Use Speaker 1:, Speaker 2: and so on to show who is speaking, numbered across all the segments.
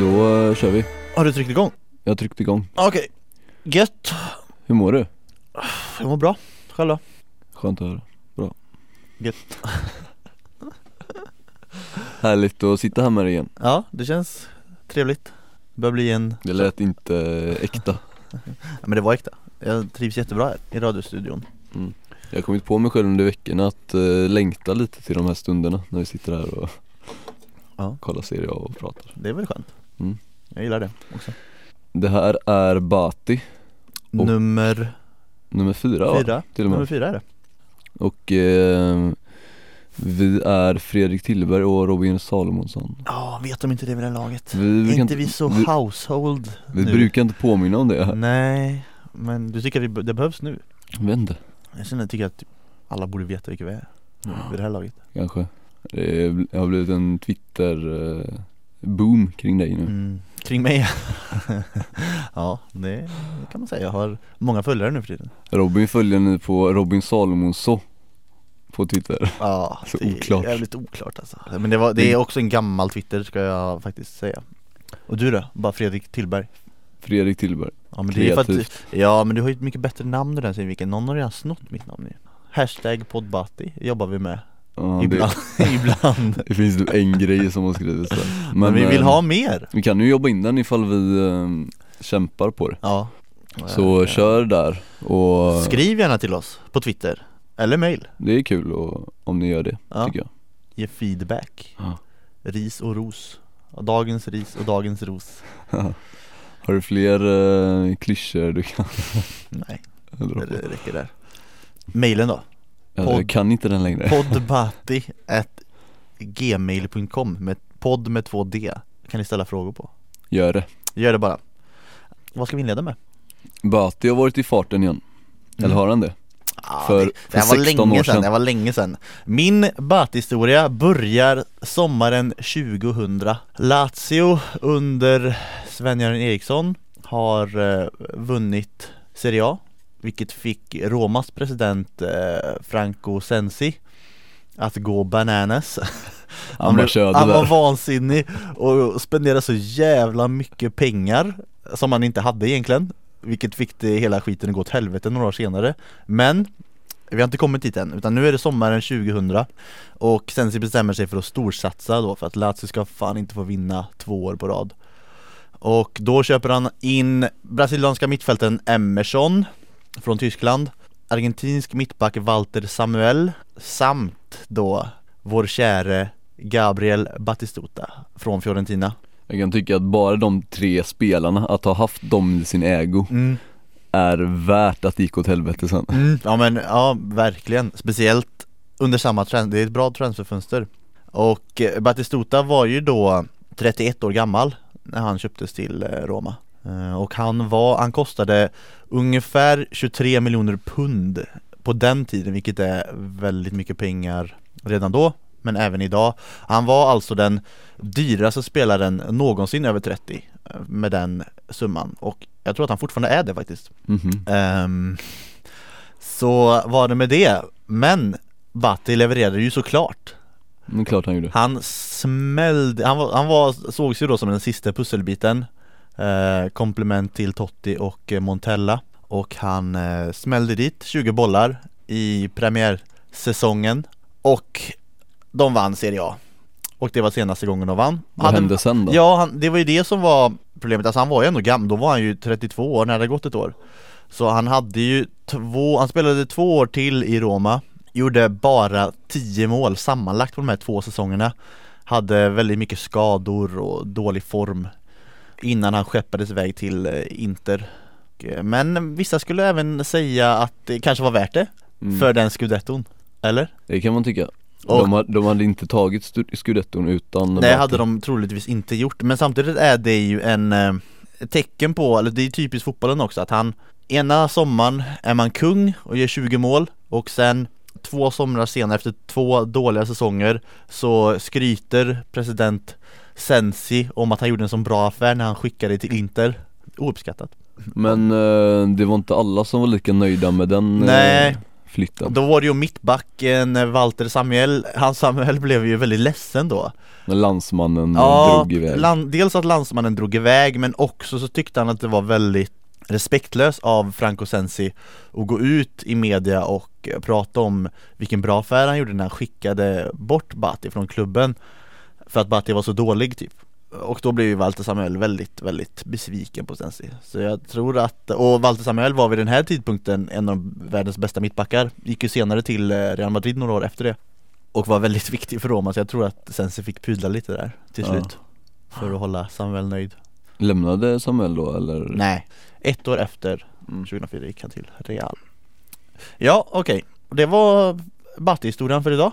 Speaker 1: Då eh, kör vi.
Speaker 2: Har du tryckt igång?
Speaker 1: Jag tryckte igång.
Speaker 2: Okej Gött,
Speaker 1: Hur mår du?
Speaker 2: jag mår bra Själv då?
Speaker 1: Skönt att höra. Bra.
Speaker 2: Gött.
Speaker 1: Härligt att sitta här med dig igen.
Speaker 2: Ja, det känns trevligt Det börjar bli en...
Speaker 1: Det lät inte eh, äkta.
Speaker 2: Ja, men det var äkta Jag trivs jättebra här i radiostudion
Speaker 1: Jag har kommit på mig själv under veckorna att eh, längta lite till de här stunderna när vi sitter här och
Speaker 2: Ja.
Speaker 1: kollar serier och pratar.
Speaker 2: Det var ju skönt
Speaker 1: Mm.
Speaker 2: Jag gillar det också
Speaker 1: Det här är Bati, Och-
Speaker 2: Nummer
Speaker 1: nummer fyra, Va?
Speaker 2: fyra
Speaker 1: till och
Speaker 2: Nummer
Speaker 1: med.
Speaker 2: fyra är det
Speaker 1: Och eh, vi är Fredrik Tillberg och Robin Salomonsson.
Speaker 2: Ja, vet de inte det vid det laget?
Speaker 1: Mm. Vi, brukar
Speaker 2: inte vi så
Speaker 1: vi-
Speaker 2: household
Speaker 1: vi
Speaker 2: nu.
Speaker 1: brukar inte påminna om det här.
Speaker 2: Nej, men du tycker att vi, be- det behövs nu?
Speaker 1: Vände,
Speaker 2: Jag känner, tycker att typ alla borde veta vilka vi är vid det här laget
Speaker 1: kanske. Det är- det har blivit en Twitter-boom kring dig nu.
Speaker 2: Mm, kring mig Ja, det kan man säga. Jag har många följare nu för tiden
Speaker 1: Robin följer ni på Robin Salomonsson på Twitter.
Speaker 2: Ja,
Speaker 1: Så
Speaker 2: det är
Speaker 1: oklart.
Speaker 2: jävligt oklart alltså Men det, var, det är också en gammal Twitter ska jag faktiskt säga Och du då? Bara Fredrik Tillberg?
Speaker 1: Fredrik Tillberg.
Speaker 2: Ja men det är för att,
Speaker 1: Kreativt.
Speaker 2: Ja men du har ju ett mycket bättre namn än den Svinviken, någon har redan snott mitt namn ju Hashtag poddbati jobbar vi med
Speaker 1: Ja, det,
Speaker 2: ibland, ibland.
Speaker 1: det finns typ en grej som har skrivits där.
Speaker 2: Men, vi vill
Speaker 1: eh,
Speaker 2: ha mer!
Speaker 1: Vi kan ju jobba in den ifall vi eh, kämpar på det.
Speaker 2: Ja
Speaker 1: Så
Speaker 2: Eh,
Speaker 1: kör där och
Speaker 2: Skriv gärna till oss på Twitter, eller mail,
Speaker 1: det är kul och, om ni gör det
Speaker 2: Ja.
Speaker 1: tycker jag.
Speaker 2: ge feedback
Speaker 1: Ja.
Speaker 2: Ris och ros Dagens ris och dagens ros
Speaker 1: Har du fler uh, klyschor du kan
Speaker 2: Nej,
Speaker 1: dra på?
Speaker 2: det räcker där Mailen då?
Speaker 1: Eller, Jag
Speaker 2: podd.
Speaker 1: kan inte den längre.
Speaker 2: Poddbati at gmail.com med podd med två D kan ni ställa frågor på
Speaker 1: Gör det.
Speaker 2: Gör det bara Vad ska vi inleda med?
Speaker 1: Bati har varit i farten igen. Eller
Speaker 2: Mm.
Speaker 1: har han det?
Speaker 2: Ah,
Speaker 1: För-
Speaker 2: det, det
Speaker 1: för
Speaker 2: här var
Speaker 1: 16
Speaker 2: länge
Speaker 1: år
Speaker 2: sedan,
Speaker 1: sedan.
Speaker 2: det här var länge sedan Min Bati-historia börjar sommaren 2000 Lazio under Sven-Göran Eriksson har eh, vunnit Serie A Vilket fick Romas president eh, Franco Sensi att gå bananas
Speaker 1: Han, bara körde
Speaker 2: han var
Speaker 1: där.
Speaker 2: vansinnig och spenderade så jävla mycket pengar som han inte hade egentligen Vilket fick det hela skiten att gå åt helvete några år senare Men vi har inte kommit dit än, utan nu är det sommaren 2000 Och Sensi bestämmer sig för att storsatsa då för att Lazio ska fan inte få vinna två år på rad Och då köper han in brasilianska mittfälten Emerson från Tyskland Argentinsk mittback Walter Samuel Samt då vår käre Gabriel Batistuta från Fiorentina
Speaker 1: Jag kan tycka att bara de tre spelarna, att ha haft dem i sin ägo
Speaker 2: mm.
Speaker 1: är värt att det gick åt helvete sen.
Speaker 2: Ja men ja, verkligen. Speciellt under samma trend. Det är ett bra transferfönster. Och eh, Batistuta var ju då 31 år gammal när han köptes till eh, Roma. Eh, Och han var, han kostade ungefär 23 miljoner pund på den tiden vilket är väldigt mycket pengar redan då men även idag. Han var alltså den dyraste spelaren någonsin över 30 eh, med den summan och jag tror att han fortfarande är det faktiskt.
Speaker 1: Mhm.
Speaker 2: Ehm, så var det med det, men Batti levererade ju såklart
Speaker 1: Det är klart han gjorde.
Speaker 2: Han smällde, han, var, han var, sågs ju då som den sista pusselbiten eh, Komplement till Totti och eh, Montella Och han eh, smällde dit 20 bollar i premiärsäsongen Och de vann Serie A Och det var senaste gången de vann
Speaker 1: Vad hände sen då?
Speaker 2: Ja, han, det var ju det som var problemet. Alltså han var ju ändå gammal, då var han ju 32 år när det hade gått ett år. Så han hade ju två, han spelade två år till i Roma, gjorde bara 10 mål sammanlagt på de här två säsongerna. Hade väldigt mycket skador och dålig form innan han skeppades iväg till eh, Inter. Och, eh, Men vissa skulle även säga att det kanske var värt det
Speaker 1: Mm.
Speaker 2: för den scudetton, eller?
Speaker 1: Det kan man tycka.
Speaker 2: Och-
Speaker 1: De, ha- de hade inte tagit stu- scudetton utan
Speaker 2: Nej
Speaker 1: Bati.
Speaker 2: hade de troligtvis inte gjort, men samtidigt är det ju en eh, ett tecken på, eller det är typiskt fotbollen också, att han ena sommaren är man kung och gör 20 mål och sen två somrar senare efter två dåliga säsonger så skryter president Sensi om att han gjorde en sån bra affär när han skickade till Inter Ouppskattat
Speaker 1: Men eh, det var inte alla som var lika nöjda med den eh,
Speaker 2: Nej.
Speaker 1: flytten
Speaker 2: Då var det ju mittbacken eh, Walter Samuel, han Samuel blev ju väldigt ledsen då
Speaker 1: När landsmannen
Speaker 2: Ja,
Speaker 1: drog iväg
Speaker 2: Land, dels att landsmannen drog iväg men också så tyckte han att det var väldigt respektlöst av Franco Sensi att gå ut i media och eh, prata om vilken bra affär han gjorde när han skickade bort Batti från klubben för att Batti var så dålig typ och då blev ju Walter Samuel väldigt, väldigt besviken på Sensi Så jag tror att, och Walter Samuel var vid den här tidpunkten en av världens bästa mittbackar Gick ju senare till eh, Real Madrid några år efter det Och var väldigt viktig för Roma så jag tror att Sensi fick pudla lite där till
Speaker 1: Ja.
Speaker 2: slut för att hålla Samuel nöjd
Speaker 1: Lämnade Samuel då eller?
Speaker 2: Nej Ett år efter
Speaker 1: Mm.
Speaker 2: 2004 gick han till Real Ja okej, det var Batti-historien för idag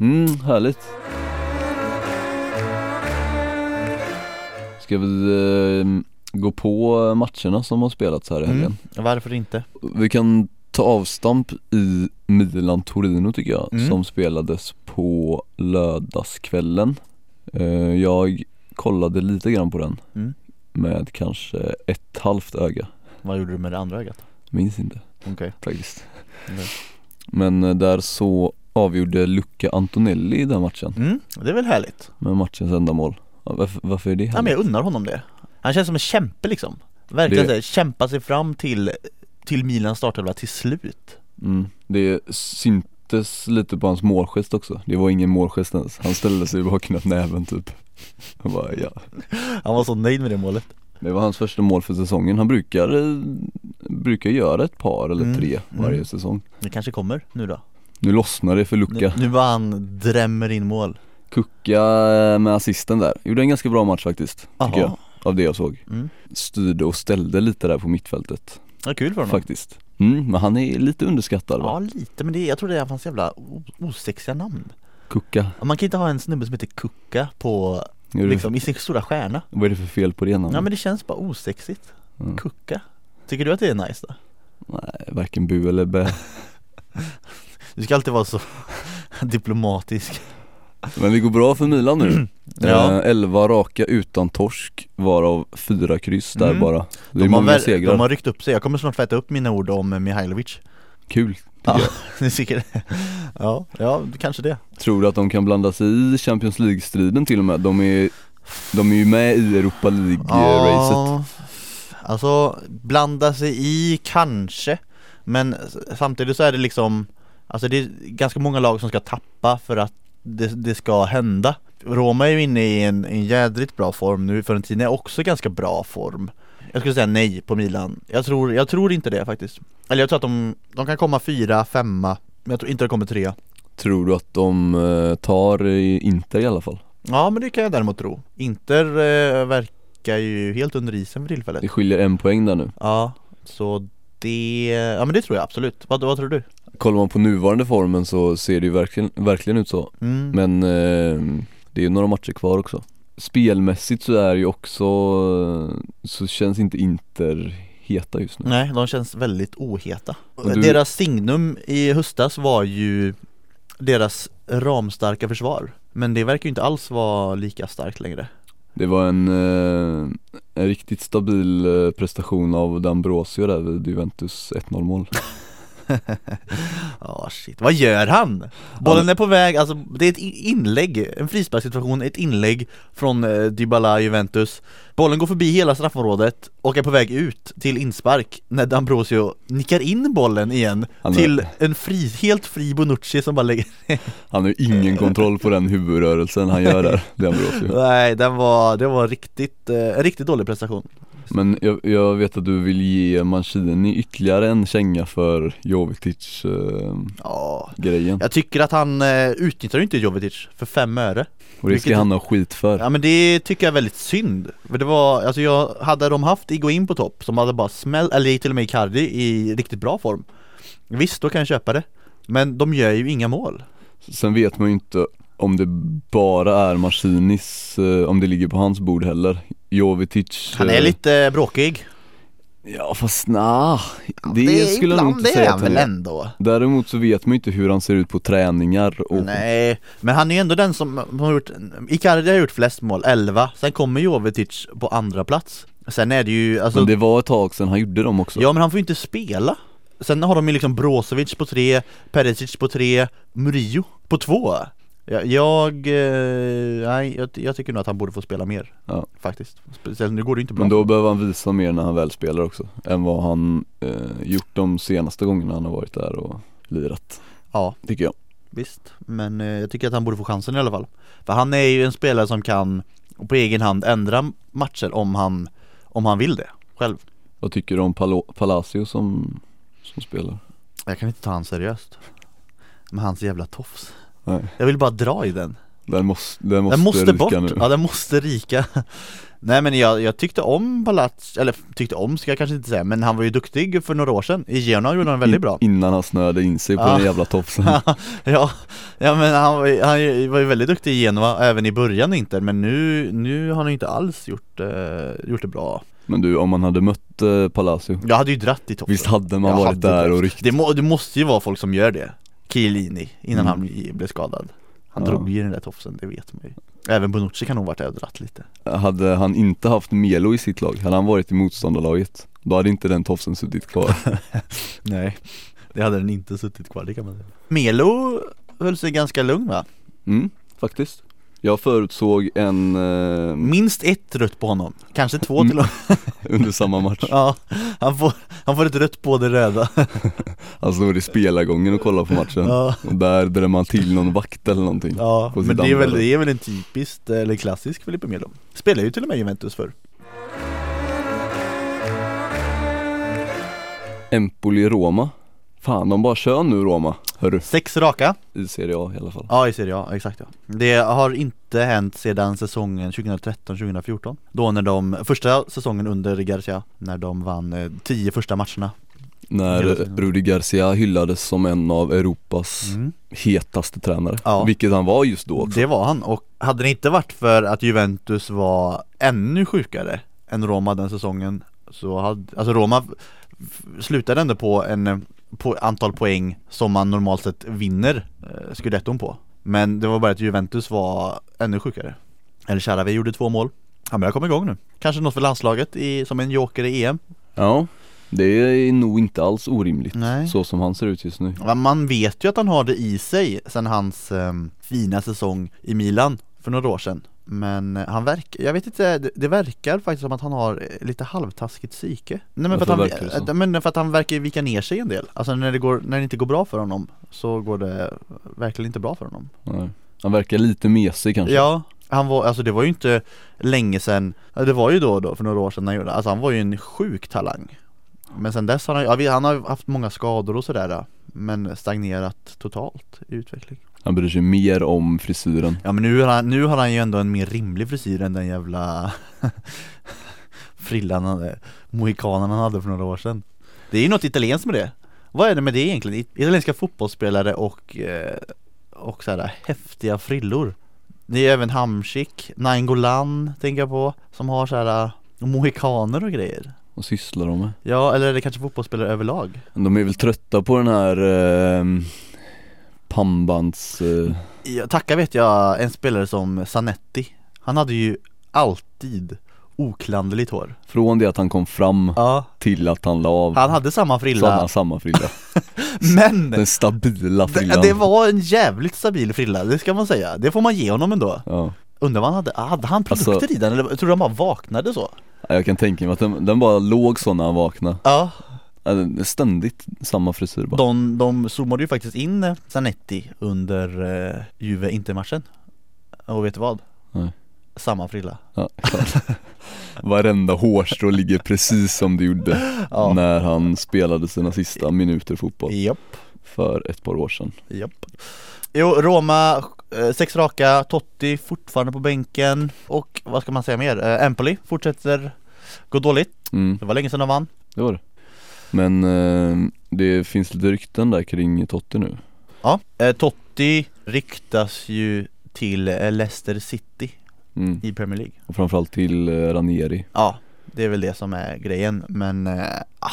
Speaker 1: Mm, härligt Ska vi eh, gå på matcherna som har spelats här i helgen?
Speaker 2: Mm. Varför inte?
Speaker 1: Vi kan ta avstamp i Milan-Torino tycker jag,
Speaker 2: Mm.
Speaker 1: som spelades på lördagskvällen Eh, Jag kollade lite grann på den
Speaker 2: Mm.
Speaker 1: med kanske ett halvt öga,
Speaker 2: Vad gjorde du med det andra ögat?
Speaker 1: minns inte
Speaker 2: Okej
Speaker 1: faktiskt
Speaker 2: Nej.
Speaker 1: Men eh, där så avgjorde Luca Antonelli den matchen
Speaker 2: mm, Det är väl härligt?
Speaker 1: med matchens enda mål Ja, varför, varför är det
Speaker 2: Ja men
Speaker 1: här?
Speaker 2: jag unnar honom det Han känns som en kämpe liksom Verkligen
Speaker 1: Det-
Speaker 2: det... kämpa sig fram till, till Milans startelva till slut
Speaker 1: Mm. Det syntes lite på hans målgest också, det var ingen målgest ens Han ställde sig bara och knöt näven typ Han bara, ja
Speaker 2: Han var så nöjd med det målet
Speaker 1: Det var hans första mål för säsongen. Han brukar, eh, brukar göra ett par eller
Speaker 2: Mm,
Speaker 1: tre varje
Speaker 2: mm.
Speaker 1: säsong.
Speaker 2: Det kanske kommer nu då
Speaker 1: Nu lossnar det för
Speaker 2: Nu,
Speaker 1: Luka.
Speaker 2: nu bara han drämmer in mål
Speaker 1: Kucka eh, med assisten där. Gjorde en ganska bra match faktiskt, tycker jag.
Speaker 2: Jaha,
Speaker 1: Av det jag såg.
Speaker 2: mm.
Speaker 1: Styrde och ställde lite där på mittfältet
Speaker 2: ja, kul för honom
Speaker 1: faktiskt. Mm, men han är lite underskattad va?
Speaker 2: Ja lite, men det, jag tror det är hans jävla o- osexiga namn
Speaker 1: Kucka.
Speaker 2: Ja, Man kan inte ha en snubbe som heter Kucka på,
Speaker 1: Är det-
Speaker 2: liksom i sin stora stjärna
Speaker 1: Vad är det för fel på det namnet?
Speaker 2: Ja men det känns bara osexigt
Speaker 1: Mm.
Speaker 2: Kucka Tycker du att det är nice då?
Speaker 1: Nej, Varken bu eller bä.
Speaker 2: Du ska alltid vara så diplomatisk
Speaker 1: Men det går bra för Milan nu.
Speaker 2: Ja.
Speaker 1: Eh, 11 raka utan torsk, varav fyra kryss där
Speaker 2: Mm.
Speaker 1: bara. Det är
Speaker 2: de, har
Speaker 1: många
Speaker 2: väl-
Speaker 1: segrar.
Speaker 2: de har ryckt upp sig, jag kommer snart få äta upp mina ord om Mihailovic
Speaker 1: Kul tycker
Speaker 2: Ja.
Speaker 1: jag.
Speaker 2: Ni tycker det? Ja, ja kanske det
Speaker 1: Tror du att de kan blanda sig i Champions League-striden till och med? De är, de är ju med i Europa League-racet
Speaker 2: Ja, Alltså, blanda sig i kanske Men samtidigt så är det liksom Alltså det är ganska många lag som ska tappa för att det, det ska hända Roma är ju inne i en, en jädrigt bra form nu, Fiorentina är också ganska bra form Jag skulle säga nej på Milan Jag tror, jag tror inte det faktiskt Eller jag tror att de, de kan komma fyra, femma Men jag tror inte de kommer trea
Speaker 1: Tror du att de eh, tar i Inter i alla fall?
Speaker 2: Ja men det kan jag däremot tro Inter eh, verkar ju helt under isen för tillfället
Speaker 1: Det skiljer en poäng där nu
Speaker 2: Ja, så det, ja men det tror jag absolut. Vad, vad tror du?
Speaker 1: Kollar man på nuvarande formen så ser det ju verkligen, verkligen ut så
Speaker 2: Mm.
Speaker 1: Men eh, det är ju några matcher kvar också Spelmässigt så är ju också, eh, så känns inte Inter heta just nu
Speaker 2: Nej, de känns väldigt oheta.
Speaker 1: Och du-
Speaker 2: Deras signum i höstas var ju deras ramstarka försvar. Men det verkar ju inte alls vara lika starkt längre.
Speaker 1: Det var en, eh, en riktigt stabil eh, prestation av Dambrosio där vid Juventus 1-0 mål
Speaker 2: Ja shit, vad gör han? Bollen är på väg, alltså det är ett i- inlägg, en frisparkssituation, ett inlägg från eh, Dybala Juventus Bollen går förbi hela straffområdet och är på väg ut till inspark när D'Ambrosio nickar in bollen igen
Speaker 1: Han är-
Speaker 2: till en fri, helt fri Bonucci som bara lägger
Speaker 1: Han har ju ingen kontroll på den huvudrörelsen han gör där, det är Ambrosio
Speaker 2: Nej, den var, det var riktigt, eh, en riktigt dålig prestation
Speaker 1: Men jag, jag vet att du vill ge Mancini ytterligare en känga för eh, Jovetic-grejen
Speaker 2: Ja, jag tycker att han eh, utnyttjar ju inte Jovetic för fem öre
Speaker 1: Och det ska
Speaker 2: vilket-
Speaker 1: han ha skit för
Speaker 2: Ja men det tycker jag är väldigt synd För det var, alltså jag, hade de haft Igoin på topp som hade bara smäll, eller till och med Icardi i riktigt bra form Visst, då kan jag köpa det Men de gör ju inga mål
Speaker 1: Sen vet man ju inte om det bara är Mancinis, eh, om det ligger på hans bord heller Jovetic
Speaker 2: Han är
Speaker 1: eh,
Speaker 2: lite bråkig
Speaker 1: Ja fast nah, det, skulle jag nog inte säga att han är
Speaker 2: ändå
Speaker 1: Däremot så vet man ju inte hur han ser ut på träningar och
Speaker 2: Nej, men han är ju ändå den som har gjort Icardi har gjort flest mål, 11 Sen kommer Jovetic på andra plats Sen är det ju, alltså
Speaker 1: Men det var ett tag sedan han gjorde dem också
Speaker 2: Ja men han får ju inte spela Sen har de ju liksom Brozovic på tre, Perisic på tre, Murillo på två Jag, jag, eh, nej, jag, jag tycker nog att han borde få spela mer
Speaker 1: Ja.
Speaker 2: Faktiskt, speciellt nu går det ju inte bra
Speaker 1: Men då behöver han visa mer när han väl spelar också Än vad han eh, gjort de senaste gångerna han har varit där och lirat
Speaker 2: Ja,
Speaker 1: Tycker jag
Speaker 2: visst Men eh, jag tycker att han borde få chansen i alla fall För han är ju en spelare som kan på egen hand ändra matcher om han, om han vill det själv
Speaker 1: Vad tycker du om Palo- Palacio som, som spelar?
Speaker 2: Jag kan inte ta han seriöst Med hans jävla tofs
Speaker 1: Nej,
Speaker 2: Jag vill bara dra i den
Speaker 1: den måste, den måste,
Speaker 2: Den måste
Speaker 1: ryka
Speaker 2: bort,
Speaker 1: nu
Speaker 2: ja den måste rika Nej men jag, jag tyckte om Palats, eller tyckte om ska jag kanske inte säga, men han var ju duktig för några år sedan I Genoa gjorde han väldigt
Speaker 1: In-
Speaker 2: bra
Speaker 1: Innan han snöade in sig på
Speaker 2: Ja.
Speaker 1: den jävla tofsen
Speaker 2: ja, ja men han, var ju- han ju- var ju väldigt duktig i Genoa även i början inte, men nu, nu har han ju inte alls gjort, eh, gjort det bra
Speaker 1: Men du, om man hade mött eh, Palacio
Speaker 2: Jag hade ju dratt i toppen
Speaker 1: Visst hade man
Speaker 2: Jag
Speaker 1: varit
Speaker 2: hade
Speaker 1: där
Speaker 2: dratt.
Speaker 1: och ryckt?
Speaker 2: det, må, det måste ju vara folk som gör det Chiellini, innan
Speaker 1: Mm.
Speaker 2: han bli- blev skadad Han
Speaker 1: Ja.
Speaker 2: drog ju den där tofsen, det vet man ju Även Bonucci kan nog varit där och dratt lite
Speaker 1: Hade han inte haft Melo i sitt lag, hade han varit i motståndarlaget Då hade inte den tofsen suttit kvar
Speaker 2: Nej Det hade den inte suttit kvar, det kan man säga Melo höll sig ganska lugn va?
Speaker 1: Mm, faktiskt Jag förutsåg en eh,
Speaker 2: Minst ett rött på honom, kanske två till och med
Speaker 1: under samma match
Speaker 2: Ja, han får, han får ett rött på det röda
Speaker 1: Han står i spelargången och kollar på matchen
Speaker 2: Ja,
Speaker 1: Och där drar man till någon vakt eller någonting
Speaker 2: ja.
Speaker 1: På sitt
Speaker 2: men det är, väl,
Speaker 1: andra.
Speaker 2: det är väl en typisk, eller klassisk Felipe Melo Spelar ju till och med Juventus för
Speaker 1: Empoli-Roma Fan de bara kör nu Roma, hörru
Speaker 2: Sex raka
Speaker 1: I Serie A i alla fall
Speaker 2: Ja i Serie A, exakt ja Det har inte hänt sedan säsongen 2013-2014 Då när de, första säsongen under Garcia När de vann eh, tio första matcherna
Speaker 1: När
Speaker 2: Hela tiden.
Speaker 1: Rudi Garcia hyllades som en av Europas hetaste tränare
Speaker 2: Mm. Ja.
Speaker 1: Vilket han var just då också
Speaker 2: Det var han och hade det inte varit för att Juventus var ännu sjukare än Roma den säsongen så hade, alltså Roma f- slutade ändå på en eh, på antal poäng som man normalt sett vinner eh, scudetton på. Men det var bara att Juventus var ännu sjukare. El Sharawi gjorde två mål. Han börjar komma igång nu. Kanske något för landslaget i, som en joker i E EM.
Speaker 1: Ja Det är nog inte alls orimligt
Speaker 2: Nej.
Speaker 1: så som han ser ut just nu
Speaker 2: Ja, Man vet ju att han har det i sig sen hans ehm, fina säsong i Milan för några år sedan Men eh, han verkar, jag vet inte, det, det verkar faktiskt som att han har eh, lite halvtaskigt psyke Nej men för,
Speaker 1: Varför
Speaker 2: att han,
Speaker 1: verkar det så?
Speaker 2: eh, men för att han verkar vika ner sig en del Alltså när det, går, när det inte går bra för honom så går det verkligen inte bra för honom
Speaker 1: Nej. Han verkar lite mesig kanske
Speaker 2: Ja, han var, alltså det var ju inte länge sedan ja, Det var ju då och då för några år sedan han gjorde Alltså han var ju en sjuk talang Men sen dess har han, ja, vi- han har haft många skador och sådär Men stagnerat totalt i utveckling
Speaker 1: Han bryr sig mer om frisyren
Speaker 2: Ja men nu har han, nu har han ju ändå en mer rimlig frisyr än den jävla Frillan han hade, mohikanen han hade för några år sedan Det är ju något italienskt med det Vad är det med det egentligen? It- Italienska fotbollsspelare och, eh, och sådär häftiga frillor Det är även Hamsik, Nainggolan tänker jag på Som har såhär mohikaner och grejer
Speaker 1: Vad sysslar de med?
Speaker 2: Ja eller är det kanske fotbollsspelare överlag?
Speaker 1: De är väl trötta på den här eh, pannbands... Eh,
Speaker 2: Ja, tacka vet jag en spelare som Zanetti Han hade ju alltid oklanderligt hår
Speaker 1: från det att han kom fram
Speaker 2: Ja
Speaker 1: till att han la av
Speaker 2: Han hade samma
Speaker 1: så hade
Speaker 2: frilla,
Speaker 1: han samma frilla
Speaker 2: men
Speaker 1: Den stabila
Speaker 2: det,
Speaker 1: frillan
Speaker 2: det var en jävligt stabil frilla, det ska man säga. Det får man ge honom ändå.
Speaker 1: ja.
Speaker 2: Undrar vad han hade, hade han produkter
Speaker 1: Alltså-
Speaker 2: i den eller tror du han bara vaknade så?
Speaker 1: Ja, Jag kan tänka mig att den, den bara låg så när han vaknade
Speaker 2: Ja,
Speaker 1: Ja, den- Ständigt samma frisyr bara
Speaker 2: de, de zoomade ju faktiskt in eh, Zanetti under eh, Juve Inter-matchen. Och vet du vad?
Speaker 1: Nej.
Speaker 2: Samma frilla.
Speaker 1: ja, klart. Varenda hårstrå ligger precis som det gjorde
Speaker 2: Ja.
Speaker 1: när han spelade sina sista minuter fotboll
Speaker 2: Japp,
Speaker 1: för ett par år sedan
Speaker 2: japp. Jo, Roma, eh, sex raka, Totti fortfarande på bänken och vad ska man säga mer? Eh, Empoli fortsätter gå dåligt.
Speaker 1: mm,
Speaker 2: Det var länge sedan de vann.
Speaker 1: det var det Men eh, det finns lite rykten där kring Totti nu
Speaker 2: Ja, eh, Totti ryktas ju till eh, Leicester City
Speaker 1: mm.
Speaker 2: i Premier League
Speaker 1: Och framförallt till eh, Ranieri
Speaker 2: Ja, det är väl det som är grejen men eh, ah,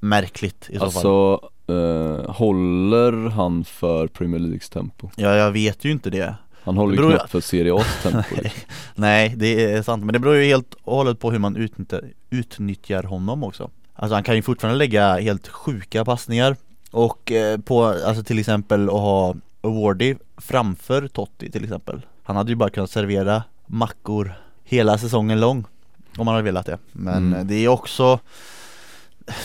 Speaker 2: märkligt i så fall
Speaker 1: Alltså, eh, håller han för Premier Leagues tempo?
Speaker 2: Ja, jag vet ju inte det
Speaker 1: Han håller ju
Speaker 2: Det beror ju-
Speaker 1: knappt för Serie A's tempo liksom.
Speaker 2: Nej det är sant men det beror ju helt och hållet på hur man utnyttjar, utnyttjar honom också Alltså han kan ju fortfarande lägga helt sjuka passningar Och eh, på, alltså till exempel att ha Awardy framför Totti till exempel Han hade ju bara kunnat servera mackor hela säsongen lång Om han hade velat det Men
Speaker 1: Mm.
Speaker 2: eh, det är också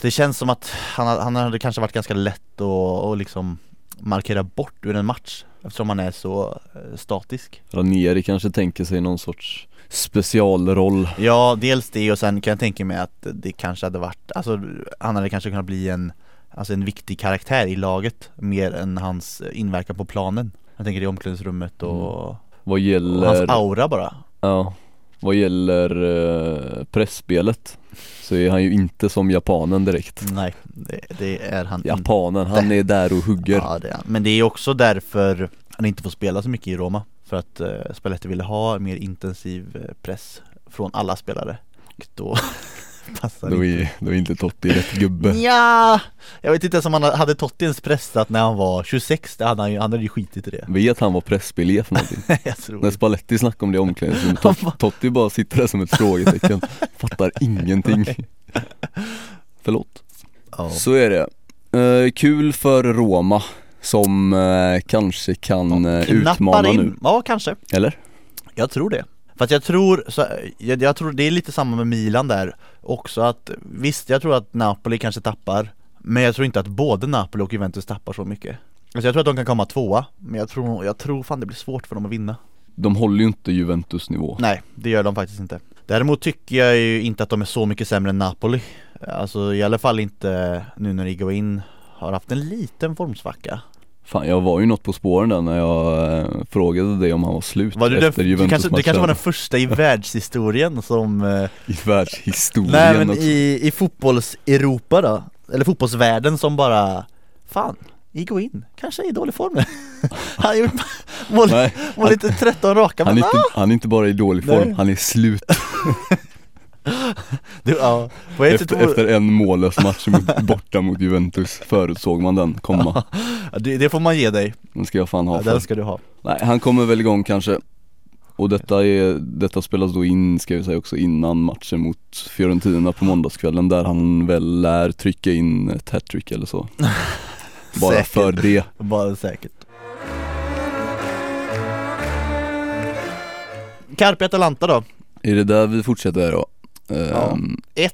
Speaker 2: Det känns som att han, ha- han hade kanske varit ganska lätt att att liksom markera bort ur en match Eftersom han är så eh, statisk
Speaker 1: Ranieri kanske tänker sig någon sorts specialroll
Speaker 2: Ja, dels det och sen kan jag tänka mig att det kanske hade varit, alltså han hade kanske kunnat bli en, alltså en viktig karaktär i laget mer än hans inverkan på planen. Jag tänker i omklädningsrummet och,
Speaker 1: vad
Speaker 2: och hans
Speaker 1: gäller
Speaker 2: aura bara.
Speaker 1: Ja, vad gäller eh, pressspelet så är han ju inte som japanen direkt.
Speaker 2: Nej, det, det är han inte.
Speaker 1: Japanen, han är där och hugger.
Speaker 2: Ja, det är han. Men det är också därför han inte får spela så mycket i Roma. För att eh, Spalletti ville ha en mer intensiv eh, press från alla spelare. Och då passar
Speaker 1: Då är, då är inte Totti rätt gubbe.
Speaker 2: Ja, jag vet inte ens om han hade Tottins pressat när han var 26, det hade han, ju- han hade ju skitit i det
Speaker 1: Vet han vad pressspel är för någonting?
Speaker 2: Jag tror
Speaker 1: När
Speaker 2: inte.
Speaker 1: Spalletti snackade om det i omklädningsrummet, Tot- Totti bara sitter där som ett frågetecken, fattar ingenting. Förlåt.
Speaker 2: Ja.
Speaker 1: Så är det. Eh, kul för Roma som eh, kanske kan eh,
Speaker 2: Knappar
Speaker 1: utmana nu.
Speaker 2: Ja, kanske.
Speaker 1: Eller?
Speaker 2: Jag tror det. För att jag tror, så, jag, jag tror det är lite samma med Milan där också att visst, jag tror att Napoli kanske tappar men jag tror inte att både Napoli och Juventus tappar så mycket. Alltså jag tror att de kan komma tvåa, men jag tror, jag tror fan det blir svårt för dem att vinna.
Speaker 1: De håller ju inte Juventus nivå.
Speaker 2: Nej, det gör de faktiskt inte. Däremot tycker jag ju inte att de är så mycket sämre än Napoli. Alltså i alla fall inte nu när Higuain har haft en liten formsvacka.
Speaker 1: Fan jag var ju något på spåren där när jag eh, frågade dig om han var slut
Speaker 2: Var du den,
Speaker 1: efter
Speaker 2: du kanske,
Speaker 1: Juventus-matchen
Speaker 2: det kanske var den första i världshistorien som... eh,
Speaker 1: i världshistorien
Speaker 2: Nej men
Speaker 1: också.
Speaker 2: i, i fotbolls-Europa då, eller fotbollsvärlden som bara Fan, Higuain kanske är i dålig form nu. Han har gjort mål,
Speaker 1: Nej,
Speaker 2: mål lite 13 raka
Speaker 1: han,
Speaker 2: men
Speaker 1: är inte, han är inte bara i dålig form,
Speaker 2: Nej.
Speaker 1: han är slut
Speaker 2: Du, ja, på ett sätt
Speaker 1: efter,
Speaker 2: vore-
Speaker 1: efter en mållös match mot, borta mot Juventus Förutsåg man den komma,
Speaker 2: Ja, det, det får man ge dig,
Speaker 1: den ska jag fan ha för.
Speaker 2: den ska du ha
Speaker 1: Nej han kommer väl igång kanske och detta, är, detta spelas då in, ska vi säga också, innan matchen mot Fiorentina på måndagskvällen där han väl lär trycka in ett hattrick eller så Bara
Speaker 2: Säkert.
Speaker 1: för det
Speaker 2: Bara säkert Carpi Atalanta då,
Speaker 1: Är det där vi fortsätter då?
Speaker 2: Ja.
Speaker 1: Ehm,
Speaker 2: 1-1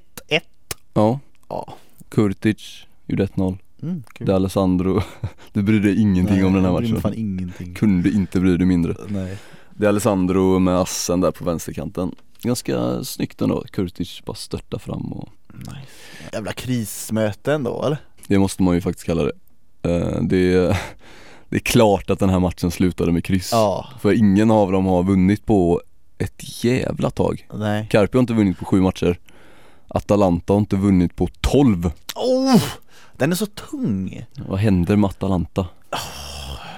Speaker 1: ja.
Speaker 2: Ja.
Speaker 1: Kurtic gjorde 1-0.
Speaker 2: mm,
Speaker 1: De Alessandro, du brydde dig ingenting om den här
Speaker 2: jag bryr mig
Speaker 1: matchen.
Speaker 2: fan ingenting
Speaker 1: Kunde inte bry dig mindre.
Speaker 2: Nej
Speaker 1: De Alessandro med assen där på vänsterkanten. Ganska snyggt ändå, Kurtic bara störta fram och
Speaker 2: nice. Jävla krismöten då eller?
Speaker 1: det måste man ju faktiskt kalla det. Eh, det, det är klart att den här matchen slutade med kryss.
Speaker 2: Ja,
Speaker 1: För ingen av dem har vunnit på ett jävla tag.
Speaker 2: nej
Speaker 1: Carpi har inte vunnit på sju matcher. Atalanta har inte vunnit på 12.
Speaker 2: oh, Den är så tung!
Speaker 1: Vad händer med Atalanta?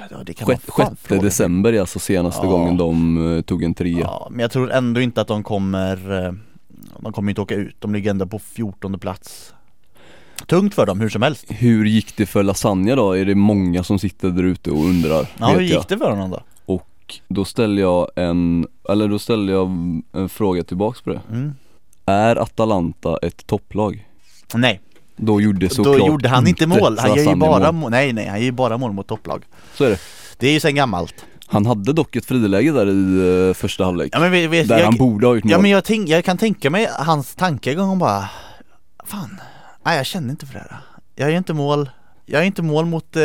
Speaker 2: Ja, det kan man
Speaker 1: Sjätte,
Speaker 2: fan
Speaker 1: sjätte
Speaker 2: fråga.
Speaker 1: december är alltså senaste
Speaker 2: Ja.
Speaker 1: gången de eh, tog en trea.
Speaker 2: Ja, men jag tror ändå inte att de kommer eh, De kommer inte åka ut, de ligger ändå på 14 plats Tungt för dem hur som helst
Speaker 1: Hur gick det för Lasagna då? Är det många som sitter där ute och undrar?
Speaker 2: Ja,
Speaker 1: vet
Speaker 2: hur
Speaker 1: jag.
Speaker 2: gick det för honom då?
Speaker 1: Och då ställer jag en, eller då ställer jag en fråga tillbaks på det.
Speaker 2: Mm.
Speaker 1: Är Atalanta ett topplag?
Speaker 2: Nej,
Speaker 1: Då gjorde såklart
Speaker 2: Då gjorde han inte mål, han gör ju
Speaker 1: Lasagna
Speaker 2: bara
Speaker 1: mål.
Speaker 2: mål. Nej nej, han gör ju bara mål mot topplag
Speaker 1: Så är det.
Speaker 2: Det är ju sen gammalt
Speaker 1: Han hade dock ett friläge där i eh, första halvlek.
Speaker 2: Ja men vi, vi,
Speaker 1: där han
Speaker 2: jag,
Speaker 1: borde ha gjort mål.
Speaker 2: ja, men jag, tänk, jag kan tänka mig hans tankegång och bara Fan, nej jag känner inte för det här Jag gör inte mål, jag gör inte mål mot, eh,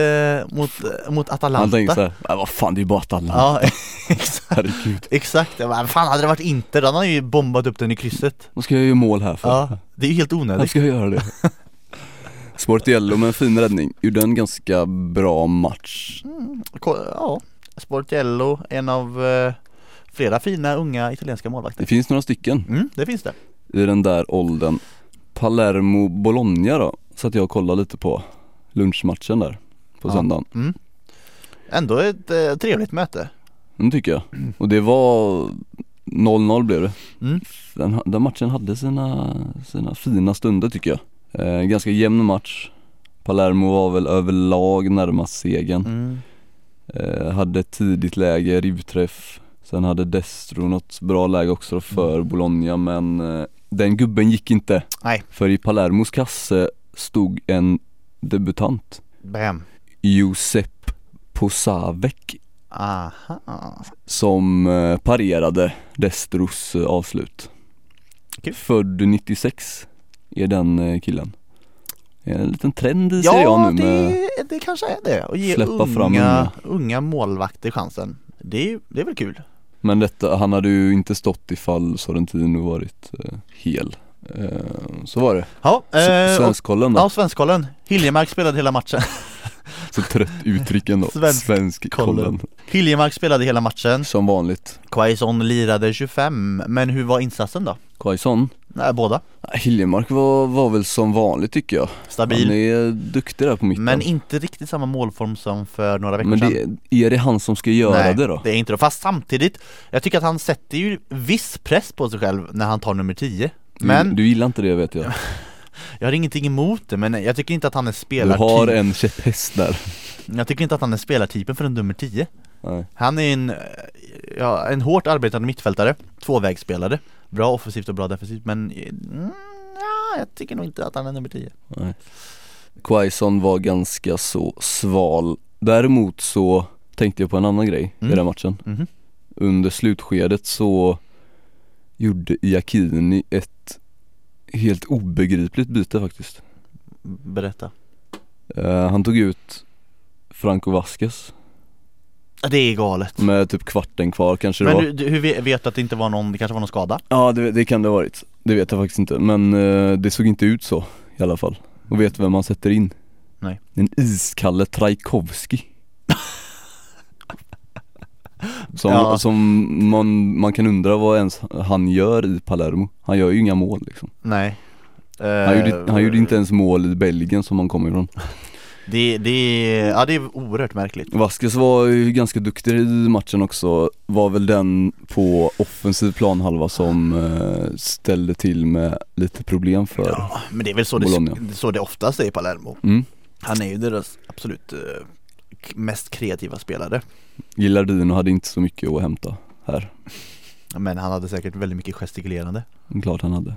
Speaker 2: mot, eh, mot Atalanta
Speaker 1: han tänkte såhär, "Nej, vad fan det är ju bara Atalanta,
Speaker 2: Ja, exakt
Speaker 1: herregud.
Speaker 2: Exakt, jag bara, fan hade det varit inte då hade han ju bombat upp den i krysset
Speaker 1: Vad ska jag göra mål här för?
Speaker 2: Ja, det är ju helt
Speaker 1: Han
Speaker 2: onödigt
Speaker 1: ska göra det. Sportiello med en fin räddning, gjorde en ganska bra match.
Speaker 2: Ko- Ja, Sportiello, en av eh, flera fina unga italienska målvakter
Speaker 1: Det finns några stycken
Speaker 2: Mm, det finns det
Speaker 1: i den där åldern. Palermo Bologna då, satt jag och kollade lite på lunchmatchen där på
Speaker 2: Ja.
Speaker 1: söndagen.
Speaker 2: mm. Ändå ett eh, trevligt möte
Speaker 1: Den tycker jag. Och det var 0-0 blev det.
Speaker 2: Mm.
Speaker 1: Den, den matchen hade sina, sina fina stunder tycker jag. Eh, ganska jämn match. Palermo var väl överlag närmast segern.
Speaker 2: mm.
Speaker 1: eh, Hade ett tidigt läge, ribbträff Sen hade Destro något bra läge också för Bologna men eh, den gubben gick inte
Speaker 2: Mm. Nej.
Speaker 1: För i Palermos kasse stod en debutant
Speaker 2: Bam.
Speaker 1: Josep Posavec
Speaker 2: Aha.
Speaker 1: som eh, parerade Destros eh, avslut.
Speaker 2: Okej.
Speaker 1: Född 96 är den eh, killen. Det är En liten trend i Serie A nu med
Speaker 2: det, det kanske är det. Och ge
Speaker 1: Släppa
Speaker 2: unga,
Speaker 1: fram eh, unga.
Speaker 2: unga målvakter chansen. Det är, ju- det är väl kul?
Speaker 1: Men detta, han hade ju inte stått ifall Sorrentino varit eh, hel. Eh, så var det.
Speaker 2: Ja,
Speaker 1: S-
Speaker 2: eh, och,
Speaker 1: Svenskollen då.
Speaker 2: ja Svenskollen. Hiljemark spelade hela matchen.
Speaker 1: Så trött uttrycken då.
Speaker 2: Svenskkollen.
Speaker 1: Svenskkollen.
Speaker 2: Hiljemark spelade hela matchen.
Speaker 1: Som vanligt.
Speaker 2: Quaison lirade 25, men hur var insatsen då?
Speaker 1: Quaison.
Speaker 2: Nej, båda.
Speaker 1: Hiljemark var, var väl som vanligt tycker jag. Han
Speaker 2: Stabil.
Speaker 1: är duktig där på mitten.
Speaker 2: Men inte riktigt samma målform som för några veckor
Speaker 1: Men
Speaker 2: sedan.
Speaker 1: det, är det han som ska göra
Speaker 2: Nej,
Speaker 1: det då?
Speaker 2: det är inte det. Fast samtidigt, jag tycker att han sätter ju viss press på sig själv när han tar nummer 10 Men
Speaker 1: Du, du gillar inte det vet jag.
Speaker 2: jag har ingenting emot det, men jag tycker inte att han är
Speaker 1: Du har
Speaker 2: spelartypen
Speaker 1: en käpphäst där.
Speaker 2: Jag tycker inte att han är spelartypen för en nummer 10
Speaker 1: Nej.
Speaker 2: Han är en, eh, ja, en hårt arbetande mittfältare, tvåvägsspelare Bra offensivt och bra defensivt men, eh, mm, ja, jag tycker nog inte att han är nummer 10
Speaker 1: Nej. Quaison var ganska så sval. Däremot så tänkte jag på en annan grej
Speaker 2: Mm.
Speaker 1: i den matchen.
Speaker 2: Mhm.
Speaker 1: Under slutskedet så gjorde Iakini ett helt obegripligt byte faktiskt.
Speaker 2: Berätta
Speaker 1: Eh, han tog ut Franco Vasquez
Speaker 2: Ja, Det är galet
Speaker 1: med typ kvarten kvar kanske det
Speaker 2: Men
Speaker 1: var.
Speaker 2: du, du, hur ve- vet du att det inte var någon, det kanske var någon skada?
Speaker 1: Ja det, det kan det ha varit. Det vet jag faktiskt inte men eh, det såg inte ut så i alla fall. Och vet du vem man sätter in?
Speaker 2: Nej.
Speaker 1: Den iskalle Trajkovski. Som,
Speaker 2: Ja.
Speaker 1: som man, man kan undra vad ens han gör i Palermo. Han gör ju inga mål liksom.
Speaker 2: Nej Eh,
Speaker 1: Han, gjorde, han gjorde inte ens mål i Belgien som han kom ifrån.
Speaker 2: Det, det, är- ja, det är oerhört märkligt
Speaker 1: Vasquez var ju ganska duktig i matchen också. Var väl den på offensiv planhalva som eh, ställde till med lite problem för
Speaker 2: Ja, men det är väl så det,
Speaker 1: Bologna.
Speaker 2: det- så det oftast är i Palermo
Speaker 1: Mm.
Speaker 2: Han är ju deras absolut eh, k- mest kreativa spelare
Speaker 1: Gillardino hade inte så mycket att hämta här,
Speaker 2: Men han hade säkert väldigt mycket gestikulerande
Speaker 1: Det är klart han hade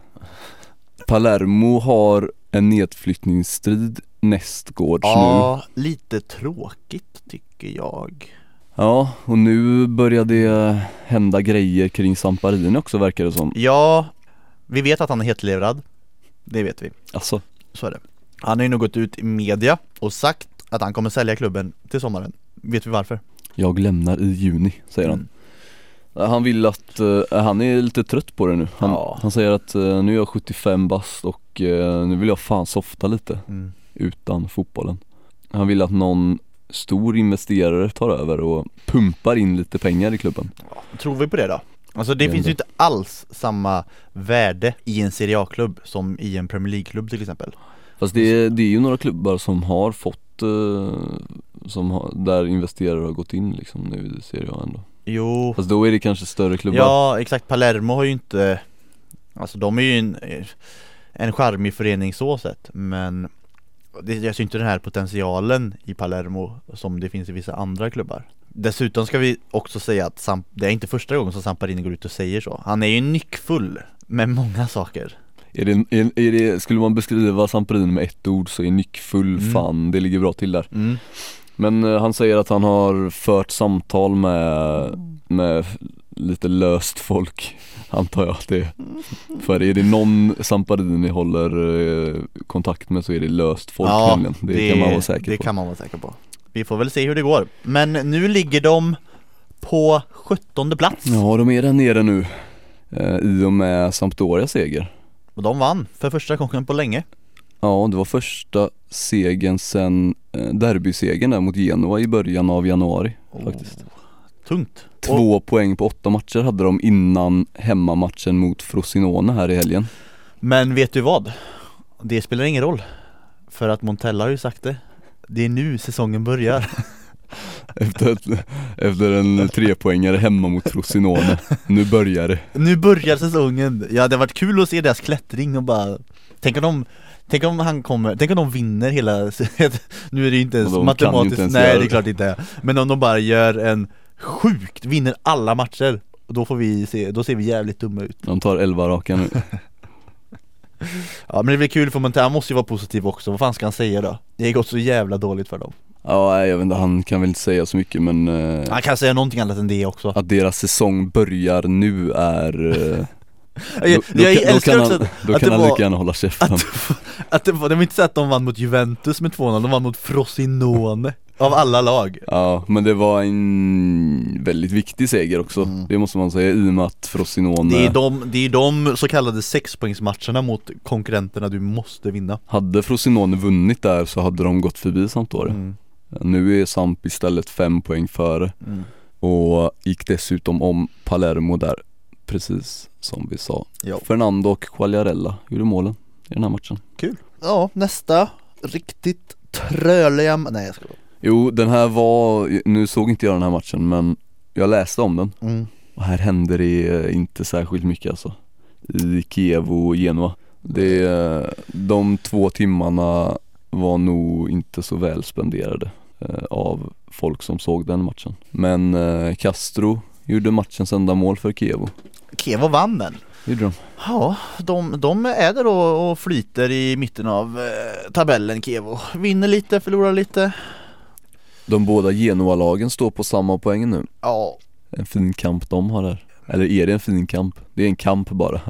Speaker 1: Palermo har en nedflyttningsstrid nästgårds nu
Speaker 2: Ja, lite tråkigt tycker jag
Speaker 1: Ja, och nu börjar det hända grejer kring Samparini också verkar det som
Speaker 2: Ja, vi vet att han är hetlevrad Det vet vi,
Speaker 1: Alltså,
Speaker 2: så är det Han har ju nu gått ut i media och sagt att han kommer sälja klubben till sommaren Vet vi varför?
Speaker 1: jag lämnar i juni, säger han
Speaker 2: Mm.
Speaker 1: Han vill att, eh, han är lite trött på det nu Han,
Speaker 2: Ja.
Speaker 1: han säger att eh, nu är jag 75 bast och eh, nu vill jag fan softa lite
Speaker 2: Mm.
Speaker 1: utan fotbollen. Han vill att någon stor investerare tar över och pumpar in lite pengar i klubben.
Speaker 2: Tror vi på det då? Alltså det
Speaker 1: Det är
Speaker 2: finns ju
Speaker 1: ändå-
Speaker 2: inte alls samma värde i en Serie A-klubb som i en Premier League-klubb till exempel
Speaker 1: Fast det är, det är ju några klubbar som har fått, eh, som har, där investerare har gått in liksom nu i Serie A ändå.
Speaker 2: Jo,
Speaker 1: Fast då är det kanske större klubbar.
Speaker 2: ja exakt, Palermo har ju inte Alltså de är ju en, en charmig förening så sett men det, Jag ser inte den här potentialen i Palermo som det finns i vissa andra klubbar Dessutom ska vi också säga att Samp- det är inte första gången som Samparini går ut och säger så Han är ju nyckfull med många saker
Speaker 1: Är det, är, är det, skulle man beskriva Samparini med ett ord så är nyckfull
Speaker 2: Mm.
Speaker 1: fan, det ligger bra till där. Men eh, han säger att han har fört samtal med, med lite löst folk Antar jag att det är För är det någon Samparini håller eh, kontakt med så är det löst folk nämligen Det, kan man vara säker
Speaker 2: det
Speaker 1: på
Speaker 2: kan man vara säker på Vi får väl se hur det går Men nu ligger de på 17 plats
Speaker 1: Ja de är där nere nu eh, I och med Sampdorias seger
Speaker 2: och de vann för första gången på länge
Speaker 1: Ja det var första segern sen eh, derbysegern där mot Genoa i början av januari faktiskt
Speaker 2: Oh, Tungt och,
Speaker 1: Två poäng på åtta matcher hade de innan hemmamatchen mot Frosinone här i helgen
Speaker 2: Men vet du vad? Det spelar ingen roll För att Montella har ju sagt det Det är nu säsongen börjar
Speaker 1: Efter, ett, efter en trepoängare hemma mot Frosinone Nu börjar det
Speaker 2: Nu börjar säsongen! Ja det har varit kul att se deras klättring och bara Tänk om, de, tänk om han kommer, tänk om de vinner hela, nu är det ju inte ens
Speaker 1: Och de kan ju
Speaker 2: matematiskt,
Speaker 1: inte ens
Speaker 2: nej
Speaker 1: göra
Speaker 2: det är
Speaker 1: det.
Speaker 2: klart inte Men om de bara gör en sjukt, vinner alla matcher Då får vi se, då ser vi jävligt dumma ut
Speaker 1: De tar 11 raka nu
Speaker 2: Ja men det blir kul för Montana måste ju vara positiv också, vad fan ska han säga då? Det har gått så jävla dåligt för dem
Speaker 1: Ja nej, jag vet inte, han kan väl inte säga så mycket men eh,
Speaker 2: Han kan säga någonting annat än det också
Speaker 1: Att deras säsong börjar nu är eh,
Speaker 2: Jag,
Speaker 1: då,
Speaker 2: jag
Speaker 1: kan- då
Speaker 2: älskar
Speaker 1: kan
Speaker 2: också
Speaker 1: han,
Speaker 2: att-
Speaker 1: då
Speaker 2: att
Speaker 1: kan
Speaker 2: det
Speaker 1: han
Speaker 2: var-
Speaker 1: lika gärna hålla käften
Speaker 2: att, att det, var- det var inte så att de vann mot Juventus med 2-0, de vann mot Frosinone Av alla lag
Speaker 1: Ja men det var en väldigt viktig seger också Det måste man säga i och med att Frosinone
Speaker 2: Mm. Det är, de, det är de så kallade sexpoängsmatcherna mot konkurrenterna du måste vinna
Speaker 1: Hade Frosinone vunnit där så hade de gått förbi Sampdoria
Speaker 2: Mm,
Speaker 1: Nu är Samp istället fem poäng före
Speaker 2: mm.
Speaker 1: och gick dessutom om Palermo där Precis som vi sa
Speaker 2: Ja.
Speaker 1: Fernando och Quagliarella gjorde målen i den här matchen
Speaker 2: Ja, nästa riktigt tröliga Nej jag ska
Speaker 1: Jo den här var, nu såg inte jag den här matchen men jag läste om den
Speaker 2: mm.
Speaker 1: Och här händer det eh, inte särskilt mycket alltså I Kiev och Genua det, eh, De två timmarna var nog inte så väl spenderade eh, Av folk som såg den matchen Men eh, Castro gjorde matchens enda mål för Kiev
Speaker 2: Kevo vann den
Speaker 1: Gjorde de?
Speaker 2: Ja, de, de är där och, och flyter i mitten av eh, tabellen Kevo Vinner lite, förlorar lite
Speaker 1: De båda Genoa-lagen står på samma poäng nu
Speaker 2: Ja,
Speaker 1: En fin kamp de har där Eller är det en fin kamp? Det är en kamp bara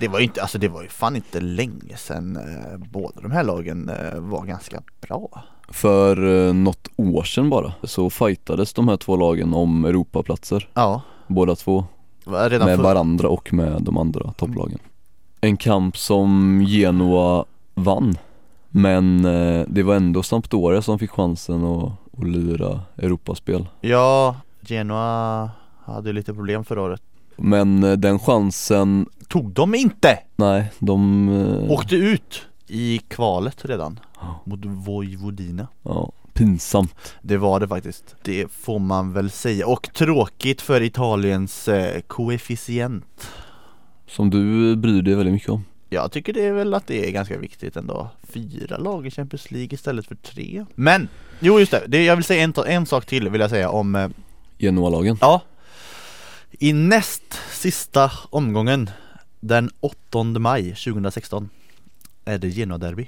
Speaker 2: det var ju inte, alltså det var ju fan inte länge sedan eh, båda de här lagen eh, var ganska bra
Speaker 1: För eh, något år sedan bara så fightades de här två lagen om Europaplatser
Speaker 2: Ja,
Speaker 1: Båda två
Speaker 2: var redan
Speaker 1: med
Speaker 2: för,
Speaker 1: varandra och med de andra topplagen En kamp som Genoa vann Men eh, det var ändå Sampdoria som fick chansen att, att lira Europaspel
Speaker 2: Ja, Genoa hade ju lite problem förra året
Speaker 1: Men eh, den chansen,
Speaker 2: Tog de inte!
Speaker 1: nej de eh,
Speaker 2: Åkte ut i kvalet redan
Speaker 1: Ja.
Speaker 2: mot Vojvodina
Speaker 1: ja, Pinsamt
Speaker 2: Det var det faktiskt, det får man väl säga och tråkigt för Italiens eh, koefficient
Speaker 1: Som du bryr dig väldigt mycket om
Speaker 2: Jag tycker det är väl att det är ganska viktigt ändå Fyra lag i Champions League istället för tre Men! Jo just det, det jag vill säga en, ta- en sak till vill jag säga om eh,
Speaker 1: Genoa-lagen
Speaker 2: Ja I näst sista omgången Den 8 maj 2016 Är det Genoa-derby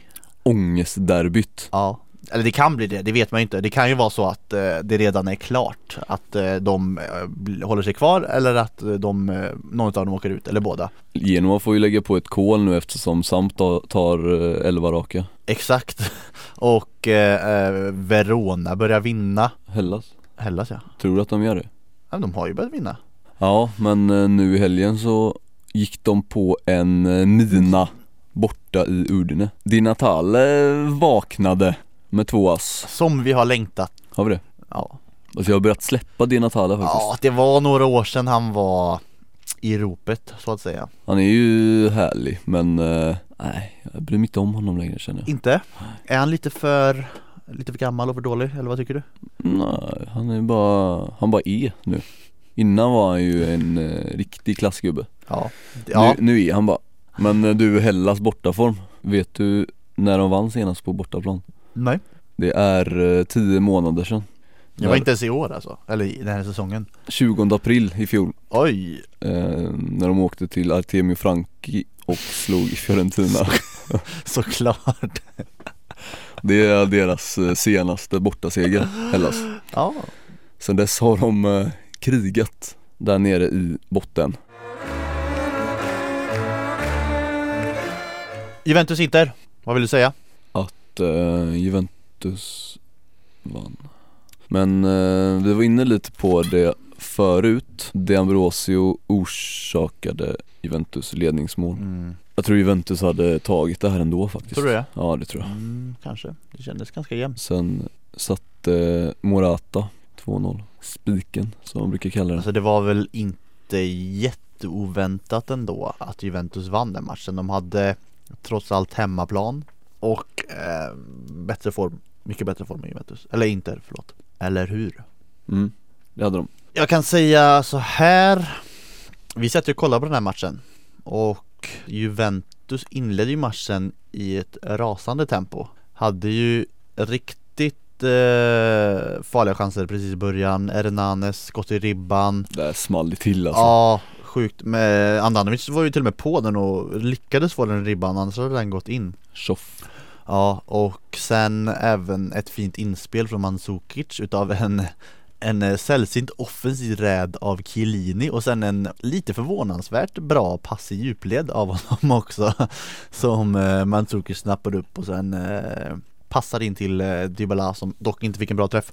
Speaker 1: Ångestderbyt
Speaker 2: Ja Eller det kan bli det, det vet man ju inte Det kan ju vara så att eh, det redan är klart Att eh, de eh, bl- håller sig kvar eller att eh, de, eh, någon av dem åker ut eller båda
Speaker 1: Genoa får ju lägga på ett kol nu eftersom Samp ta- tar eh, 11 raka
Speaker 2: Exakt Och eh, eh, Verona börjar vinna
Speaker 1: Hellas,
Speaker 2: Hellas ja,
Speaker 1: tror du att de gör det?
Speaker 2: ja men de har ju börjat vinna
Speaker 1: Ja, men eh, nu i helgen så gick de på en eh, mina borta i Udine. Di Natale eh, vaknade med två ass.
Speaker 2: Som vi har längtat
Speaker 1: Har vi det?
Speaker 2: Ja,
Speaker 1: Alltså jag har börjat släppa Di Natale faktiskt.
Speaker 2: ja det var några år sedan han var i ropet så att säga
Speaker 1: Han är ju härlig, men eh, nej, jag bryr mig inte om honom längre känner jag.
Speaker 2: Inte? Är han lite för, lite för gammal och för dålig eller vad tycker du?
Speaker 1: Nej, han är bara, han bara är nu. Innan var han ju en eh, riktig klassgubbe.
Speaker 2: Ja, ja.
Speaker 1: Nu, nu är han bara. Men eh, du, Hellas bortaform. Vet du när de vann senast på bortaplan?
Speaker 2: nej
Speaker 1: Det är eh, tio månader sedan.
Speaker 2: Det var
Speaker 1: När-
Speaker 2: inte ens i år alltså, eller i den här säsongen
Speaker 1: 20 april i fjol
Speaker 2: Oj!
Speaker 1: eh, När de åkte till Artemio Franchi och slog Fiorentina
Speaker 2: Såklart!
Speaker 1: Det är deras eh, senaste bortaseger, Hellas
Speaker 2: Ja,
Speaker 1: Sen dess har de eh, krigat där nere i botten
Speaker 2: Juventus Inter, vad vill du säga?
Speaker 1: att eh, Juventus vann Men eh, vi var inne lite på det förut De Ambrosio orsakade Juventus ledningsmål
Speaker 2: Mm.
Speaker 1: Jag tror Juventus hade tagit det här ändå faktiskt
Speaker 2: Tror du det?
Speaker 1: Ja det tror jag
Speaker 2: Mm, kanske, det kändes ganska jämnt
Speaker 1: Sen satte Morata 2-0 Spiken som man brukar kalla den
Speaker 2: Alltså det var väl inte jätteoväntat ändå att Juventus vann den matchen De hade trots allt hemmaplan och eh, bättre form, mycket bättre form än Juventus, eller Inter, förlåt Eller hur?
Speaker 1: mm, Det hade de
Speaker 2: Jag kan säga så här Vi satt ju och kollade på den här matchen Och Juventus Juventus inledde ju matchen i ett rasande tempo Hade ju riktigt eh, farliga chanser precis i början Hernanes, skott i ribban
Speaker 1: Där small det till alltså
Speaker 2: Ja, sjukt. Men Andanovic var ju till och med på den och lyckades få den i ribban, annars hade den gått in.
Speaker 1: Tjoff
Speaker 2: Ja, och sen även ett fint inspel från Mandzukic utav en en eh, sällsynt offensiv räd av Chiellini och sen en lite förvånansvärt bra pass i djupled av honom också Som eh, Mandzukic snappade upp och sen eh, passade in till eh, Dybala som dock inte fick en bra träff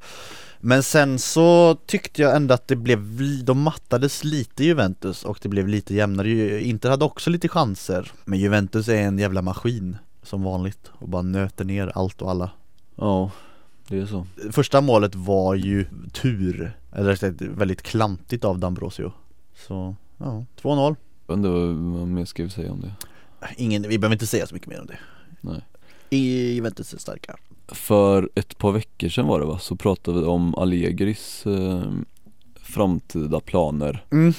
Speaker 2: Men sen så tyckte jag ändå att det blev, li- de mattades lite Juventus och det blev lite jämnare Ju- Inter hade också lite chanser Men Juventus är en jävla maskin som vanligt och bara nöter ner allt och alla
Speaker 1: Ja, det är så
Speaker 2: Första målet var ju tur, eller rätt sagt väldigt klantigt av Dambrosio Så, ja, 2-0
Speaker 1: Jag vet inte vad vad mer ska vi säga om det
Speaker 2: Ingen, vi behöver inte säga så mycket mer om det
Speaker 1: Nej.
Speaker 2: I Juventus är starka
Speaker 1: För ett par veckor sedan var det va, så pratade vi om Allegris eh, framtida planer
Speaker 2: Mm,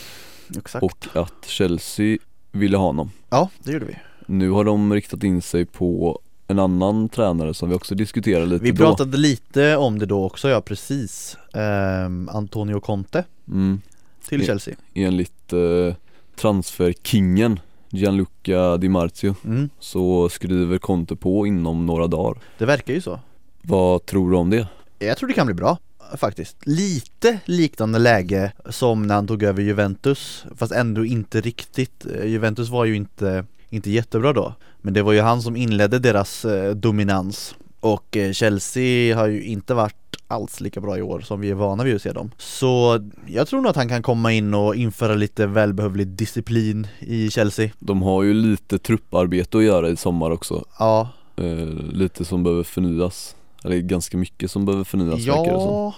Speaker 2: exakt
Speaker 1: och att Chelsea ville ha honom
Speaker 2: Ja, det gjorde vi
Speaker 1: Nu har de riktat in sig på en annan tränare som vi också diskuterade lite
Speaker 2: Vi
Speaker 1: då
Speaker 2: pratade lite om det då också, ja precis Ehm, Antonio Conte
Speaker 1: mm,
Speaker 2: till
Speaker 1: Ja.
Speaker 2: Chelsea
Speaker 1: Enligt eh, transferkingen Gianluca Di Marzio
Speaker 2: mm.
Speaker 1: så skriver Conte på inom några dagar
Speaker 2: Det verkar ju så
Speaker 1: Vad tror du om det?
Speaker 2: Jag tror det kan bli bra faktiskt. Lite liknande läge som när han tog över Juventus fast ändå inte riktigt. Eh, Juventus var ju inte, inte jättebra då men det var ju han som inledde deras eh, dominans och eh, Chelsea har ju inte varit alls lika bra i år som vi är vana vid att se dem. Så jag tror nog att han kan komma in och införa lite välbehövlig disciplin i Chelsea.
Speaker 1: De har ju lite trupparbete att göra i sommar också
Speaker 2: Ja,
Speaker 1: eh, Lite som behöver förnyas Eller ganska mycket som behöver förnyas verkar det som
Speaker 2: Ja,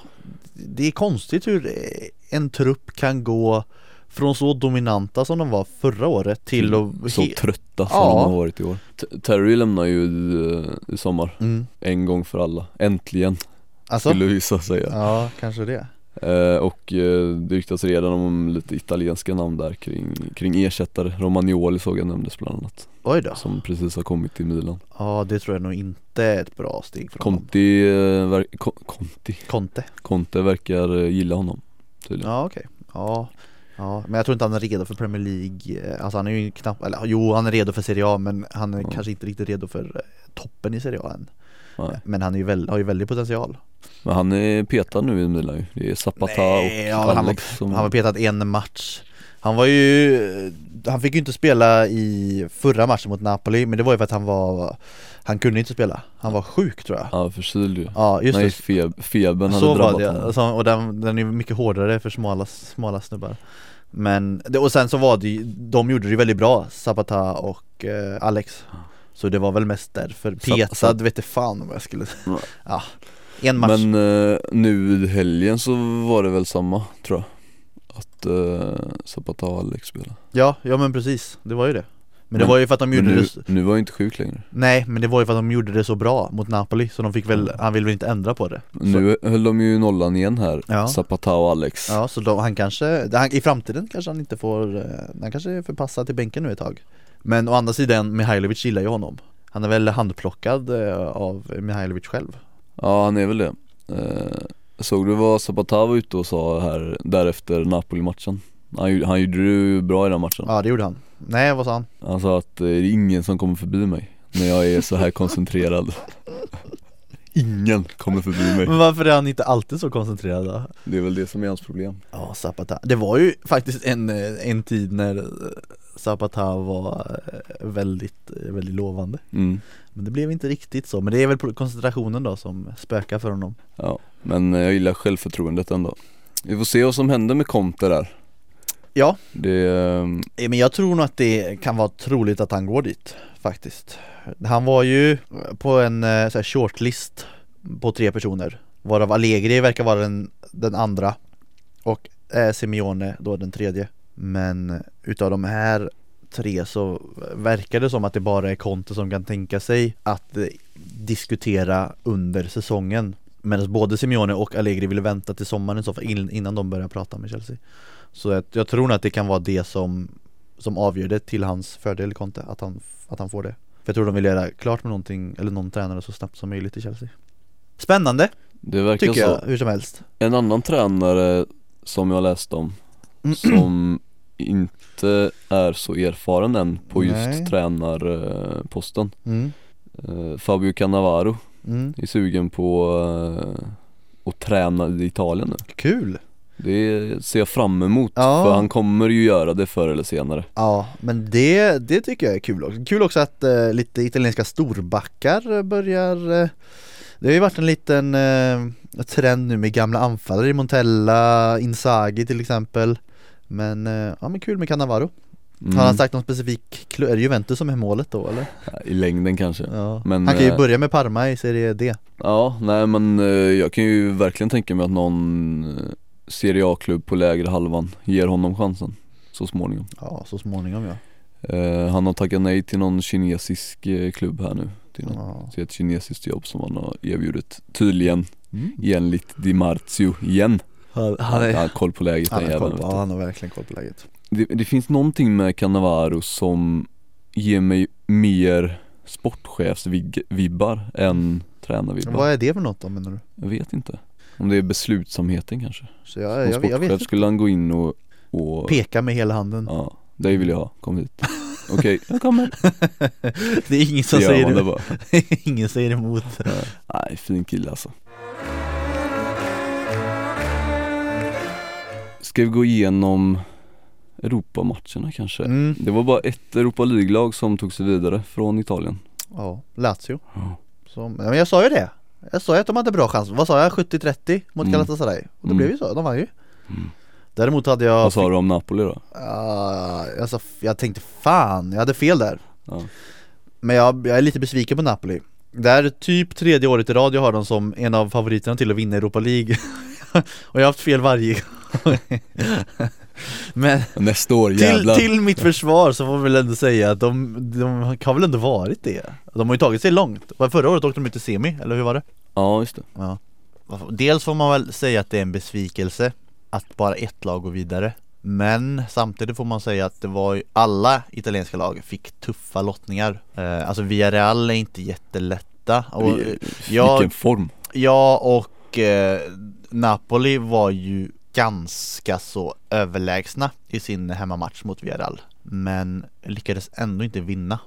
Speaker 2: det är konstigt hur eh, en trupp kan gå från så dominanta som de var förra året till att...
Speaker 1: Mm. Så
Speaker 2: he-
Speaker 1: trötta som
Speaker 2: Ja.
Speaker 1: de har varit i år T- Terry lämnar ju i, i sommar
Speaker 2: Mm.
Speaker 1: En gång för alla, äntligen
Speaker 2: Alltså,
Speaker 1: skulle vissa säga
Speaker 2: ja kanske det.
Speaker 1: eh, Och eh, det ryktas redan om lite italienska namn där kring, kring ersättare Romagnoli såg jag nämndes bland annat
Speaker 2: Oj då.
Speaker 1: Som precis har kommit till Milan
Speaker 2: Ja, det tror jag nog inte är ett bra steg för honom.
Speaker 1: Conti, eh, ver- Con- Conti,
Speaker 2: Conte.
Speaker 1: Conte verkar eh, gilla honom tydligen
Speaker 2: Ja, okej. Ja. ja, men jag tror inte han är redo för Premier League. Eh, Alltså han är ju knappt, eller jo han är redo för Serie A men han är
Speaker 1: Ja.
Speaker 2: kanske inte riktigt redo för eh, toppen i Serie A än.
Speaker 1: Nej.
Speaker 2: Men han är ju väl, har ju väldigt potential.
Speaker 1: Men han är petad nu i Milan ju Det är Zapata
Speaker 2: Nej,
Speaker 1: och
Speaker 2: ja, han
Speaker 1: Alex som
Speaker 2: Han var petad en match Han var ju, han fick ju inte spela i förra matchen mot Napoli men det var ju för att han var, han kunde inte spela Han var sjuk tror jag
Speaker 1: Ja, förkyld ju
Speaker 2: Ja just
Speaker 1: Nej,
Speaker 2: det,
Speaker 1: feb- febern hade
Speaker 2: så var
Speaker 1: drabbat
Speaker 2: det
Speaker 1: honom
Speaker 2: alltså, och den, den är ju mycket hårdare för smala, smala snubbar Men, det- och sen så var det ju, de gjorde det ju väldigt bra, Zapata och eh, Alex Så det var väl mest därför,
Speaker 1: Zap-
Speaker 2: petad
Speaker 1: Zap-
Speaker 2: vet inte fan vad jag skulle
Speaker 1: Ja.
Speaker 2: Ja, en match
Speaker 1: Men eh, nu i helgen så var det väl samma tror jag Att eh, Zapata och Alex spelade
Speaker 2: Ja, ja men precis, det var ju det men det
Speaker 1: Men-
Speaker 2: var ju för att de
Speaker 1: Men
Speaker 2: gjorde
Speaker 1: nu,
Speaker 2: det
Speaker 1: nu var jag inte sjuk längre
Speaker 2: Nej, men det var ju för att de gjorde det så bra mot Napoli så de fick väl,
Speaker 1: Mm.
Speaker 2: han ville väl inte ändra på det
Speaker 1: Nu höll de ju nollan igen här
Speaker 2: Ja.
Speaker 1: Zapata och Alex
Speaker 2: Ja, så då, han kanske, det- han, i framtiden kanske han inte får, eh, han kanske är förpassad till bänken nu ett tag Men å andra sidan, Mihailovic gillar ju honom Han är väl handplockad eh, av Mihailovic själv
Speaker 1: Ja han är väl det eh, Såg du vad Zapata var ute och sa här därefter Napoli-matchen? Han, gjorde- han gjorde det ju bra i den matchen
Speaker 2: Ja, det gjorde han Nej, vad sa han?
Speaker 1: Han sa att eh, det är ingen som kommer förbi mig när jag är så här koncentrerad Ingen kommer förbi mig
Speaker 2: Men varför är han inte alltid så koncentrerad då?
Speaker 1: Det är väl det som är hans problem
Speaker 2: Ja, Zapata. Det var ju faktiskt en, eh, en tid när eh, Zapata var eh, väldigt, eh, väldigt lovande
Speaker 1: mm.
Speaker 2: Men det blev inte riktigt så, men det är väl pro- koncentrationen då som spökar för honom
Speaker 1: Ja, men eh, jag gillar självförtroendet ändå Vi får se vad som händer med Conte där
Speaker 2: Ja.
Speaker 1: Det, eh,
Speaker 2: Eh, Men jag tror nog att det kan vara troligt att han går dit faktiskt Han var ju på en eh, så här shortlist på tre personer Varav Allegri verkar vara den, den andra Och eh, Simeone då den tredje Men utav de här tre så verkar det som att det bara är Conte som kan tänka sig att eh, diskutera under säsongen Medan både Simeone och Allegri ville vänta till sommaren i så fall in- innan de börjar prata med Chelsea Så att jag tror nog att det kan vara det som som avgör det till hans fördel, Conte, att han, att han får det För jag tror de vill göra klart med någonting, eller någon tränare så snabbt som möjligt i Chelsea Spännande,
Speaker 1: Det verkar
Speaker 2: tycker
Speaker 1: så
Speaker 2: jag, hur som helst
Speaker 1: En annan tränare som jag läst om
Speaker 2: Mm.
Speaker 1: Som inte är så erfaren än på just
Speaker 2: Nej.
Speaker 1: tränarposten
Speaker 2: mm.
Speaker 1: Eh, Fabio Cannavaro
Speaker 2: Mm.
Speaker 1: är sugen på eh, att träna i Italien nu
Speaker 2: Kul!
Speaker 1: Det ser jag fram emot
Speaker 2: Ja.
Speaker 1: för han kommer ju göra det förr eller senare
Speaker 2: Ja, men det, det tycker jag är kul också. Kul också att eh, lite italienska storbackar eh, börjar eh, Det har ju varit en liten eh, trend nu med gamla anfallare i Montella, Inzaghi till exempel Men, eh, ja men kul med Cannavaro
Speaker 1: Mm.
Speaker 2: Har han sagt någon specifik klubb? Är det Juventus som är målet då eller?
Speaker 1: I längden kanske
Speaker 2: Ja.
Speaker 1: Men,
Speaker 2: han kan ju
Speaker 1: eh,
Speaker 2: börja med Parma i Serie D
Speaker 1: Ja, nej men eh, jag kan ju verkligen tänka mig att någon eh, Serie A-klubb på lägre halvan ger honom chansen så småningom
Speaker 2: Ja, så småningom ja,
Speaker 1: Eh, Han har tackat nej till någon kinesisk eh, klubb här nu till, något,
Speaker 2: ja.
Speaker 1: till ett kinesiskt jobb som han har erbjudit Tydligen
Speaker 2: Mm.
Speaker 1: enligt Di Marzio igen
Speaker 2: Han,
Speaker 1: Han
Speaker 2: han, är,
Speaker 1: har koll på läget
Speaker 2: han,
Speaker 1: den
Speaker 2: har koll
Speaker 1: jäveln
Speaker 2: på,
Speaker 1: vet du.
Speaker 2: ja, han har verkligen koll på läget
Speaker 1: det, det finns någonting med Cannavaro som ger mig mer sportchefsvibbar än tränarvibbar
Speaker 2: Vad är det för något då menar du?
Speaker 1: Jag vet inte Om det är beslutsamheten kanske
Speaker 2: Så jag,
Speaker 1: Som
Speaker 2: jag, jag, jag
Speaker 1: sportchef
Speaker 2: vet
Speaker 1: skulle han gå in och, och
Speaker 2: Peka med hela handen
Speaker 1: ja, dig vill jag ha, kom hit Okej, jag kommer
Speaker 2: Det är ingen
Speaker 1: Så
Speaker 2: som
Speaker 1: gör
Speaker 2: säger
Speaker 1: man det
Speaker 2: det.
Speaker 1: bara
Speaker 2: ingen säger emot
Speaker 1: Nej, fin kille alltså Ska vi gå igenom Europamatcherna kanske?
Speaker 2: mm.
Speaker 1: Det var bara ett Europa League-lag som tog sig vidare från Italien
Speaker 2: Ja, Lazio
Speaker 1: Ja.
Speaker 2: som, ja, men jag sa ju det Jag sa ju att de hade bra chans, vad sa jag? 70-30 mot
Speaker 1: Mm.
Speaker 2: Galatasaray Och det
Speaker 1: Mm.
Speaker 2: blev ju så, de vann ju
Speaker 1: Mm.
Speaker 2: Däremot hade jag
Speaker 1: Vad sa du om Napoli då?
Speaker 2: Ah, alltså, f- jag tänkte fan, jag hade fel där
Speaker 1: Ja.
Speaker 2: Men jag, jag är lite besviken på Napoli Det här är typ tredje året i rad jag har dem som en av favoriterna till att vinna Europa League Och jag har haft fel varje gång Men
Speaker 1: Nästa år
Speaker 2: Till,
Speaker 1: jävlar
Speaker 2: till mitt försvar så får vi väl ändå säga att de, de har väl ändå varit det De har ju tagit sig långt, Var- förra året åkte de ut till semi, eller hur var det?
Speaker 1: Ja just det,
Speaker 2: Ja Dels får man väl säga att det är en besvikelse att bara ett lag går vidare Men samtidigt får man säga att det var ju, alla italienska lag fick tuffa lottningar eh, Alltså Villarreal är inte jättelätta och,
Speaker 1: Vi-
Speaker 2: jag-
Speaker 1: vilken form
Speaker 2: Ja och eh, Napoli var ju ganska så överlägsna i sin hemmamatch mot Villarreal Men lyckades ändå inte vinna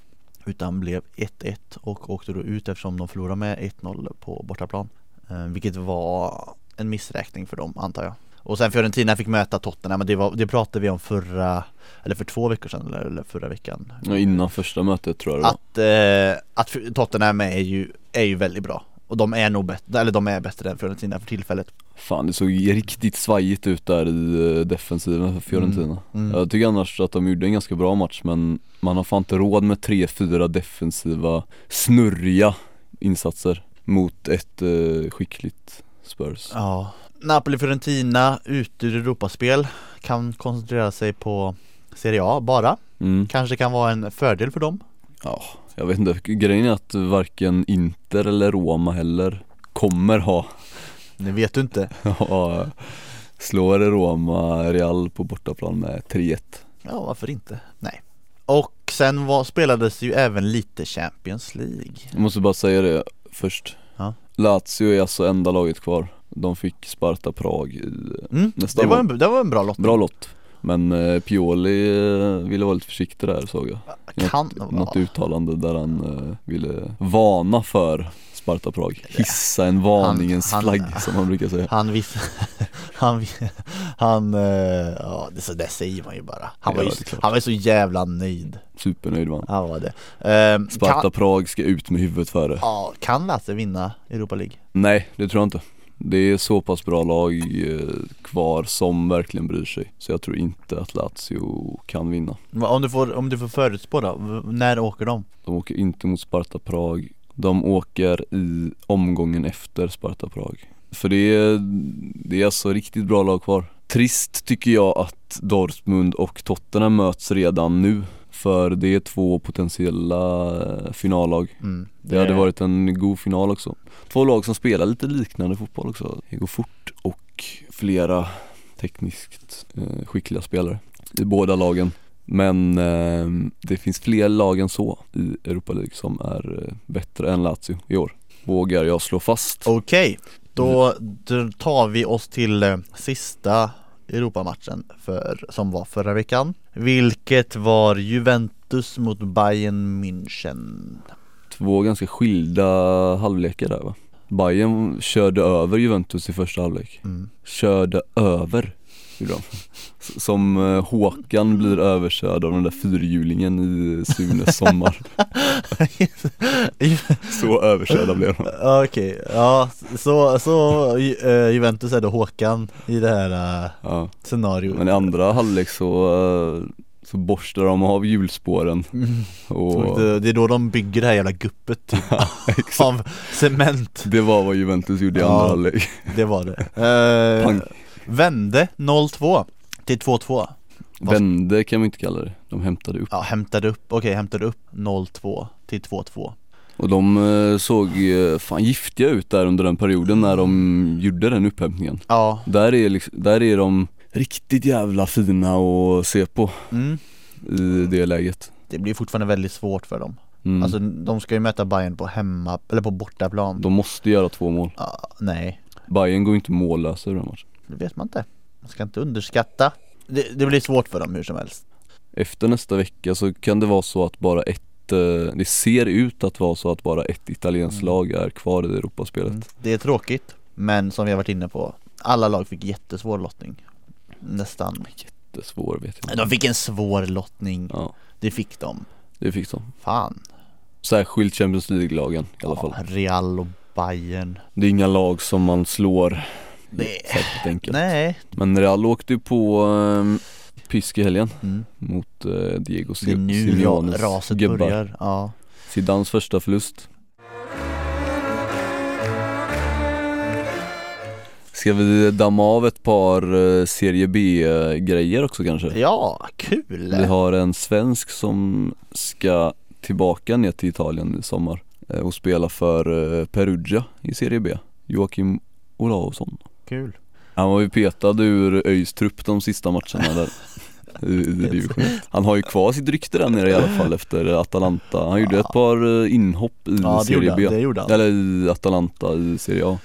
Speaker 2: Utan blev 1-1 och åkte då ut eftersom de förlorade med 1-0 på bortaplan eh, Vilket var en missräkning för dem antar jag och sen Fiorentina fick möta Tottenham, men det, var, det pratade vi om förra, eller för två veckor sedan eller, eller förra veckan
Speaker 1: Ja, innan första mötet tror jag det var
Speaker 2: att, eh, att Tottenham är ju, är ju väldigt bra Och de är nog bättre, eller de är bättre än Fiorentina för tillfället
Speaker 1: Fan det såg riktigt svajigt ut där i eh, defensiven för Fiorentina
Speaker 2: Mm.
Speaker 1: Jag tycker annars att de gjorde en ganska bra match men man har fan inte råd med 3-4 defensiva snurriga insatser mot ett eh, skickligt Spurs
Speaker 2: Ja Napoli-Fiorentina ute ur Europaspel Kan koncentrera sig på Serie A bara
Speaker 1: mm.
Speaker 2: Kanske kan vara en fördel för dem
Speaker 1: Jag vet inte, grejen är att varken Inter eller Roma heller kommer ha
Speaker 2: Det vet du inte
Speaker 1: ha- Slår Roma Real på bortaplan med 3-1
Speaker 2: Ja varför inte? Nej Och sen var, spelades ju även lite Champions League
Speaker 1: Jag måste bara säga det först
Speaker 2: Ja.
Speaker 1: Lazio är alltså enda laget kvar De fick Sparta Prag i
Speaker 2: mm.
Speaker 1: Nästa
Speaker 2: det, var
Speaker 1: gång.
Speaker 2: en, det var en bra lottning
Speaker 1: Bra lott Men eh, Pioli eh, ville vara lite försiktig där såg jag
Speaker 2: Kan
Speaker 1: Något uttalande där han eh, ville varna för Sparta Prag Hissa en varningens
Speaker 2: Han- han-
Speaker 1: flagg som man brukar säga
Speaker 2: Han visste, han, vi- han, eh, ja det, så där säger man ju bara Han var ju,
Speaker 1: Ja, det är klart.
Speaker 2: han var ju så jävla nöjd
Speaker 1: Supernöjd var han
Speaker 2: Han var det Ehm,
Speaker 1: Sparta
Speaker 2: kan,
Speaker 1: Prag ska ut med huvudet före
Speaker 2: ja, kan Lazio vinna Europa League?
Speaker 1: Nej det tror jag inte Det är så pass bra lag eh, kvar som verkligen bryr sig Så jag tror inte att Lazio kan vinna
Speaker 2: Va, Om du får, om du får förutspå då, v- när åker de?
Speaker 1: De åker inte mot Sparta Prag De åker i omgången efter Sparta Prag För det är, det är alltså riktigt bra lag kvar Trist tycker jag att Dortmund och Tottenham möts redan nu För det är två potentiella eh, finallag
Speaker 2: Mm.
Speaker 1: Det hade varit en god final också Två lag som spelar lite liknande fotboll också Det går fort och flera tekniskt eh, skickliga spelare i båda lagen Men eh, det finns fler lag än så i Europa League som är eh, bättre än Lazio i år Vågar jag slå fast
Speaker 2: Okej, då då tar vi oss till eh, sista Europamatchen för, som var förra veckan Vilket var Juventus mot Bayern München
Speaker 1: Två ganska skilda halvlekar där va Bayern körde över Juventus i första halvlek
Speaker 2: mm.
Speaker 1: Körde över gjorde de. S- Som eh, Håkan blir överkörd av den där fyrhjulingen i Sunes sommar Så överkörda blev de
Speaker 2: Ja, Okej, ja så, så Ju- eh, Juventus är då Håkan i det här eh,
Speaker 1: ja.
Speaker 2: scenariot
Speaker 1: Men i andra halvlek så, eh, så borstar de av hjulspåren
Speaker 2: Mm.
Speaker 1: och
Speaker 2: Det det är då de bygger det här jävla guppet typ, av cement
Speaker 1: det var vad Juventus gjorde i
Speaker 2: Ja.
Speaker 1: andra halvlek
Speaker 2: Det var det Eh,
Speaker 1: Pang.
Speaker 2: Vände 0-2 till 2-2 Vad-
Speaker 1: Vände kan man inte kalla det, de hämtade upp
Speaker 2: Ja, hämtade upp, okej hämtade upp 0-2 till 2-2
Speaker 1: Och de eh, såg eh, fan giftiga ut där under den perioden när de gjorde den upphämtningen
Speaker 2: Ja,
Speaker 1: Där är, liksom, där är de riktigt jävla fina att se på
Speaker 2: mm.
Speaker 1: i det läget
Speaker 2: Det blir fortfarande väldigt svårt för dem
Speaker 1: mm.
Speaker 2: Alltså de ska ju möta Bayern på hemma, eller på bortaplan
Speaker 1: De måste göra två mål,
Speaker 2: ja, Nej,
Speaker 1: Bayern går inte mållösa ur den matchen
Speaker 2: det vet man inte Man ska inte underskatta det, det blir svårt för dem hur som helst
Speaker 1: Efter nästa vecka så kan det vara så att bara ett eh, det ser ut att vara så att bara ett italienskt
Speaker 2: Mm.
Speaker 1: lag är kvar i Europaspelet.
Speaker 2: Det är tråkigt Men som vi har varit inne på Alla lag fick jättesvår lottning Nästan
Speaker 1: Det är svår vet jag inte.
Speaker 2: De fick en svår lottning
Speaker 1: Ja,
Speaker 2: Det fick de
Speaker 1: det fick de.
Speaker 2: Fan
Speaker 1: Särskilt Champions League-lagen i alla fall.
Speaker 2: Ja, Real och Bayern
Speaker 1: Det är inga lag som man slår
Speaker 2: Det-
Speaker 1: särskilt enkelt.
Speaker 2: Nej
Speaker 1: Men Real åkte ju på um, pisk i helgen
Speaker 2: mm.
Speaker 1: mot eh, Diego
Speaker 2: Det är nu ra-
Speaker 1: Simeones
Speaker 2: raset
Speaker 1: gubbar.
Speaker 2: börjar Ja
Speaker 1: Zidanes första förlust. Ska vi damma av ett par eh, Serie B-grejer också kanske?
Speaker 2: Ja, kul!
Speaker 1: Vi har en svensk som ska tillbaka ner till Italien i sommar eh, och spela för eh, Perugia i Serie B, Joakim Olausson.
Speaker 2: Kul
Speaker 1: Han var ju petad ur ÖIS trupp de sista matcherna där i, i division Han har ju kvar sitt rykte där nere i alla fall efter Atalanta. Han gjorde ett par eh, inhopp i
Speaker 2: Ja, det gjorde,
Speaker 1: Serie
Speaker 2: han, det
Speaker 1: B,
Speaker 2: gjorde han
Speaker 1: eller i Atalanta i Serie A.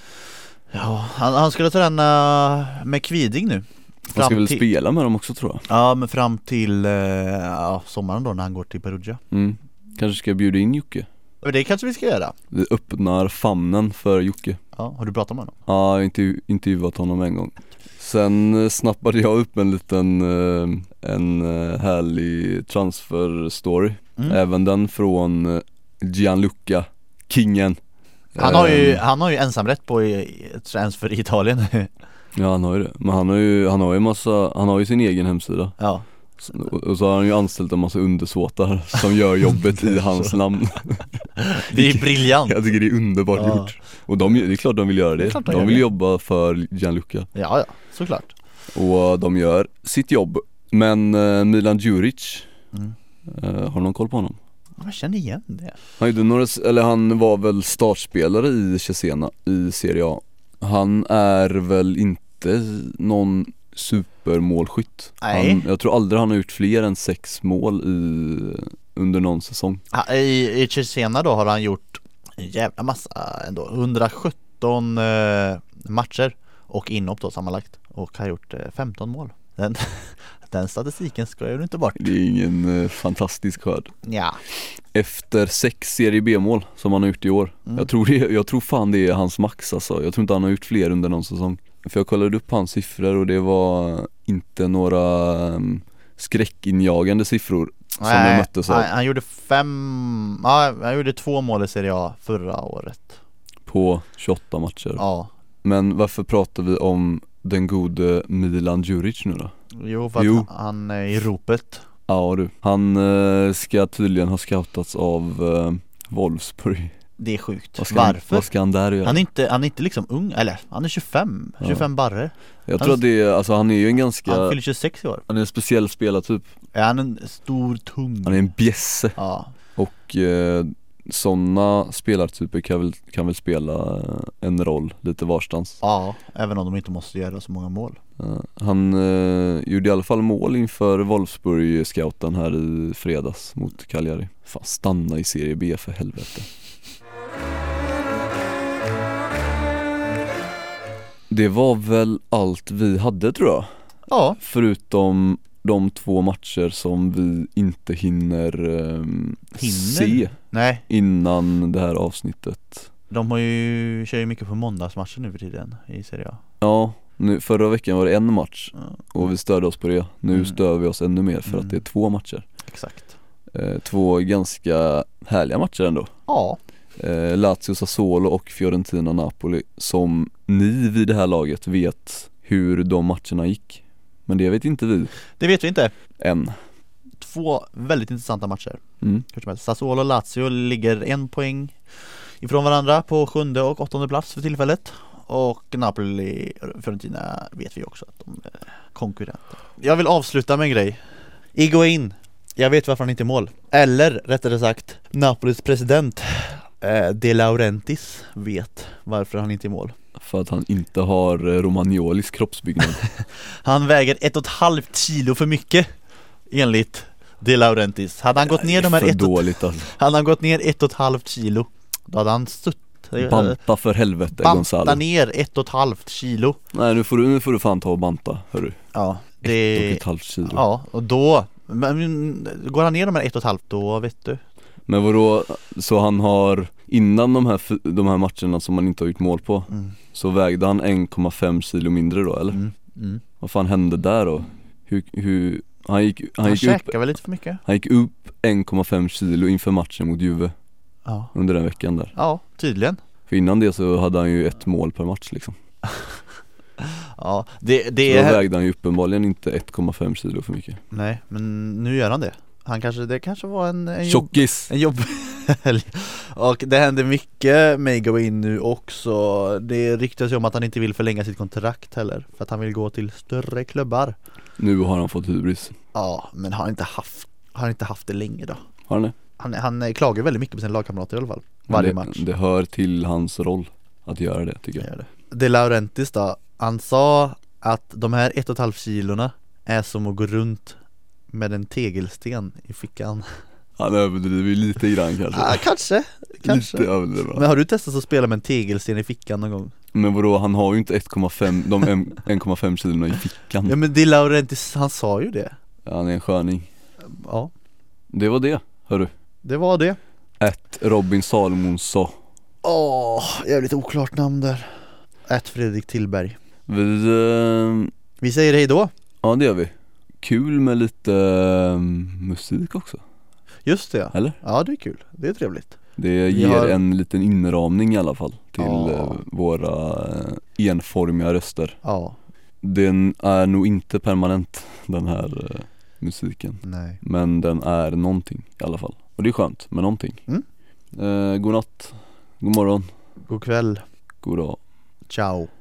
Speaker 2: Ja, han, han skulle träna med Kviding nu
Speaker 1: Han ska
Speaker 2: Fram
Speaker 1: väl
Speaker 2: till-
Speaker 1: spela med dem också tror jag.
Speaker 2: Ja, men fram till eh, ja, sommaren då när han går till Perugia
Speaker 1: Mm. Kanske ska bjuda in Jocke.
Speaker 2: Men Det kanske vi ska göra
Speaker 1: Vi öppnar famnen för Jocke.
Speaker 2: Ja, har du pratat med honom?
Speaker 1: Ja, jag intervju- intervjuat honom en gång. Sen eh, snappade jag upp en liten, eh, en eh, härlig transfer story.
Speaker 2: Mm.
Speaker 1: Även den från eh, Gianluca, kingen.
Speaker 2: Han har ju,
Speaker 1: Eh,
Speaker 2: han har ju ensamrätt på i- i- transfer i Italien
Speaker 1: Ja han har ju det, men han har ju, han har ju massa, han har ju sin egen hemsida
Speaker 2: Ja,
Speaker 1: och, och så har han ju anställt en massa undersåtar som gör jobbet i hans namn
Speaker 2: det är briljant
Speaker 1: Jag tycker det är underbart
Speaker 2: Ja.
Speaker 1: gjort Och de, det är klart de vill göra det,
Speaker 2: Det är klart de
Speaker 1: de,
Speaker 2: gör
Speaker 1: vill
Speaker 2: det.
Speaker 1: jobba för Gianluca
Speaker 2: Ja, ja, såklart
Speaker 1: Och de gör sitt jobb Men eh, Milan Djuric
Speaker 2: Mm.
Speaker 1: eh, Har någon koll på honom?
Speaker 2: Jag känner igen det
Speaker 1: Han gjorde några, eller han var väl startspelare i Cesena i Serie A Han är väl inte någon supermålskytt
Speaker 2: Nej.
Speaker 1: han, Jag tror aldrig han har gjort fler än sex mål i, under någon säsong
Speaker 2: Ha- I, i Cesena då har han gjort en jävla massa ändå 117 eh, matcher och inhopp då sammanlagt och har gjort eh, 15 mål den, den statistiken ska jag inte bort
Speaker 1: Det är ingen eh, fantastisk skörd
Speaker 2: Ja,
Speaker 1: Efter sex Serie B-mål som han har gjort i år
Speaker 2: Mm.
Speaker 1: jag, tror det, jag tror fan det är hans max alltså, jag tror inte han har gjort fler under någon säsong För jag kollade upp hans siffror och det var inte några um, skräckinjagande siffror som de möttes av
Speaker 2: han, han gjorde fem, ja, han gjorde två mål i Serie A förra året
Speaker 1: på 28 matcher
Speaker 2: Ja,
Speaker 1: Men varför pratar vi om den gode Milan Djuric nu då?
Speaker 2: jo för att
Speaker 1: Jo.
Speaker 2: Han, han är i ropet
Speaker 1: Ja du, han eh, ska tydligen ha scoutats av eh, Wolfsburg
Speaker 2: Det är sjukt,
Speaker 1: vad ska Han,
Speaker 2: varför?
Speaker 1: vad ska han där göra?
Speaker 2: han är inte, han är inte liksom ung, eller han är 25,
Speaker 1: Ja.
Speaker 2: 25 barre
Speaker 1: jag
Speaker 2: han-
Speaker 1: tror att det är, alltså han är ju en ganska
Speaker 2: Han
Speaker 1: han,
Speaker 2: fyller 26 i år
Speaker 1: är en speciell typ. spelartyp
Speaker 2: Är han en stor, tung?
Speaker 1: Han är en bjässe
Speaker 2: Ja,
Speaker 1: och eh, sådana spelartyper kan väl, kan väl spela eh, en roll lite varstans.
Speaker 2: Ja, även om de inte måste göra så många mål
Speaker 1: Eh, Han eh, gjorde i alla fall mål inför Wolfsburg-scouten här i fredags mot Cagliari. Fan stanna i Serie B för helvete. Det var väl allt vi hade tror jag.
Speaker 2: Ja,
Speaker 1: Förutom de två matcher som vi inte hinner, ehm,
Speaker 2: Hinner?
Speaker 1: se
Speaker 2: nej
Speaker 1: innan det här avsnittet
Speaker 2: De har ju, kör ju mycket på måndagsmatcher nu för tiden i Serie A
Speaker 1: Ja, nu, förra veckan var det en match
Speaker 2: Ja,
Speaker 1: och vi störde oss på det Nu
Speaker 2: Mm.
Speaker 1: stör vi oss ännu mer för
Speaker 2: Mm.
Speaker 1: att det är två matcher
Speaker 2: Exakt
Speaker 1: eh, Två ganska härliga matcher ändå
Speaker 2: Ja,
Speaker 1: eh, Lazio Sassuolo och Fiorentina-Napoli som ni vid det här laget vet hur de matcherna gick Men det vet inte vi
Speaker 2: det vet vi inte
Speaker 1: än
Speaker 2: Två väldigt intressanta matcher
Speaker 1: mm.
Speaker 2: Hur som helst, Sassuolo och Lazio ligger en poäng ifrån varandra på sjunde och åttonde plats för tillfället och Napoli Fiorentina vet vi också att de är konkurrenter. Jag vill avsluta med en grej. Iguain. Jag vet varför han inte är i mål. Eller rättare sagt Napolis president eh, De Laurentiis vet varför han inte är i mål.
Speaker 1: För att han inte har eh, romagnolisk kroppsbyggnad
Speaker 2: Han väger ett och ett halvt kilo för mycket enligt De Laurentiis. Hade han gått ner de här
Speaker 1: För
Speaker 2: ett och,
Speaker 1: dåligt alltså
Speaker 2: hade han gått ner ett och ett halvt kilo då hade han stutt
Speaker 1: Banta för helvete Gonzalo
Speaker 2: Banta ner ett och ett halvt kilo
Speaker 1: Nej nu får du, nu får du fan ta och banta hörru
Speaker 2: Ja
Speaker 1: Ett och
Speaker 2: det,
Speaker 1: ett halvt kilo
Speaker 2: Eh, Ja och då men, Går han ner de här ett och ett halvt då vet du
Speaker 1: Men vadå, så han har innan de här, f- de här matcherna som man inte har gjort mål på
Speaker 2: Mm.
Speaker 1: Så vägde han 1,5 kilo mindre då eller?
Speaker 2: mm. Mm.
Speaker 1: Vad fan hände där då? Hur, hur, han gick, han
Speaker 2: Han
Speaker 1: gick upp,
Speaker 2: käkar väl lite för mycket?
Speaker 1: han gick upp 1,5 kilo inför matchen mot Juve
Speaker 2: Ja
Speaker 1: under den veckan där
Speaker 2: Ja tydligen
Speaker 1: För innan det så hade han ju ett mål per match liksom
Speaker 2: Ja det,
Speaker 1: Så
Speaker 2: det
Speaker 1: då
Speaker 2: är
Speaker 1: vägde han ju uppenbarligen inte 1,5 kilo för mycket
Speaker 2: Nej men nu gör han det Han kanske, det kanske var en, en jobb,
Speaker 1: Tjockis!
Speaker 2: en jobb Och det händer mycket med Gawain nu också Det ryktas ju om att han inte vill förlänga sitt kontrakt heller För att han vill gå till större klubbar
Speaker 1: Nu har han fått hybris
Speaker 2: Ja men har han inte haft, har han inte haft det länge då?
Speaker 1: Har han det?
Speaker 2: Han, han eh, klagar väldigt mycket på sina lagkamrater i alla fall
Speaker 1: Men
Speaker 2: Varje
Speaker 1: det,
Speaker 2: match
Speaker 1: Det hör till hans roll att göra det tycker
Speaker 2: Jag
Speaker 1: jag
Speaker 2: gör det. De Laurentiis då, han sa att de här ett och ett halvt kilorna är som att gå runt med en tegelsten i fickan
Speaker 1: Han överdriver ju lite grann kanske
Speaker 2: ah, Kanske, kanske
Speaker 1: Lite överdriver han.
Speaker 2: Men har du testat att spela med en tegelsten i fickan någon gång?
Speaker 1: Men vadå, han har ju inte 1,5, de 1,5 kilona i
Speaker 2: Ja
Speaker 1: fickan
Speaker 2: men De Laurentiis, han sa ju det
Speaker 1: Han är en sköning
Speaker 2: Ja,
Speaker 1: Det var det, hörru
Speaker 2: det var det
Speaker 1: Ett Robin Salomonsson
Speaker 2: Åh, jävligt oklart namn där Ett Fredrik Tillberg
Speaker 1: Vi, eh,
Speaker 2: Vi säger hej då
Speaker 1: ja det gör vi Kul med lite eh, musik också,
Speaker 2: Just det ja.
Speaker 1: eller?
Speaker 2: ja, det är kul, det är trevligt
Speaker 1: Det
Speaker 2: Vi
Speaker 1: ger
Speaker 2: har-
Speaker 1: en liten inramning i alla fall till
Speaker 2: Ja.
Speaker 1: eh, våra eh, enformiga röster
Speaker 2: Ja,
Speaker 1: Den är nog inte permanent den här eh, musiken
Speaker 2: nej
Speaker 1: Men den är någonting i alla fall Och det är skönt med någonting
Speaker 2: Mm.
Speaker 1: eh, God natt, god morgon,
Speaker 2: God kväll,
Speaker 1: god dag
Speaker 2: ciao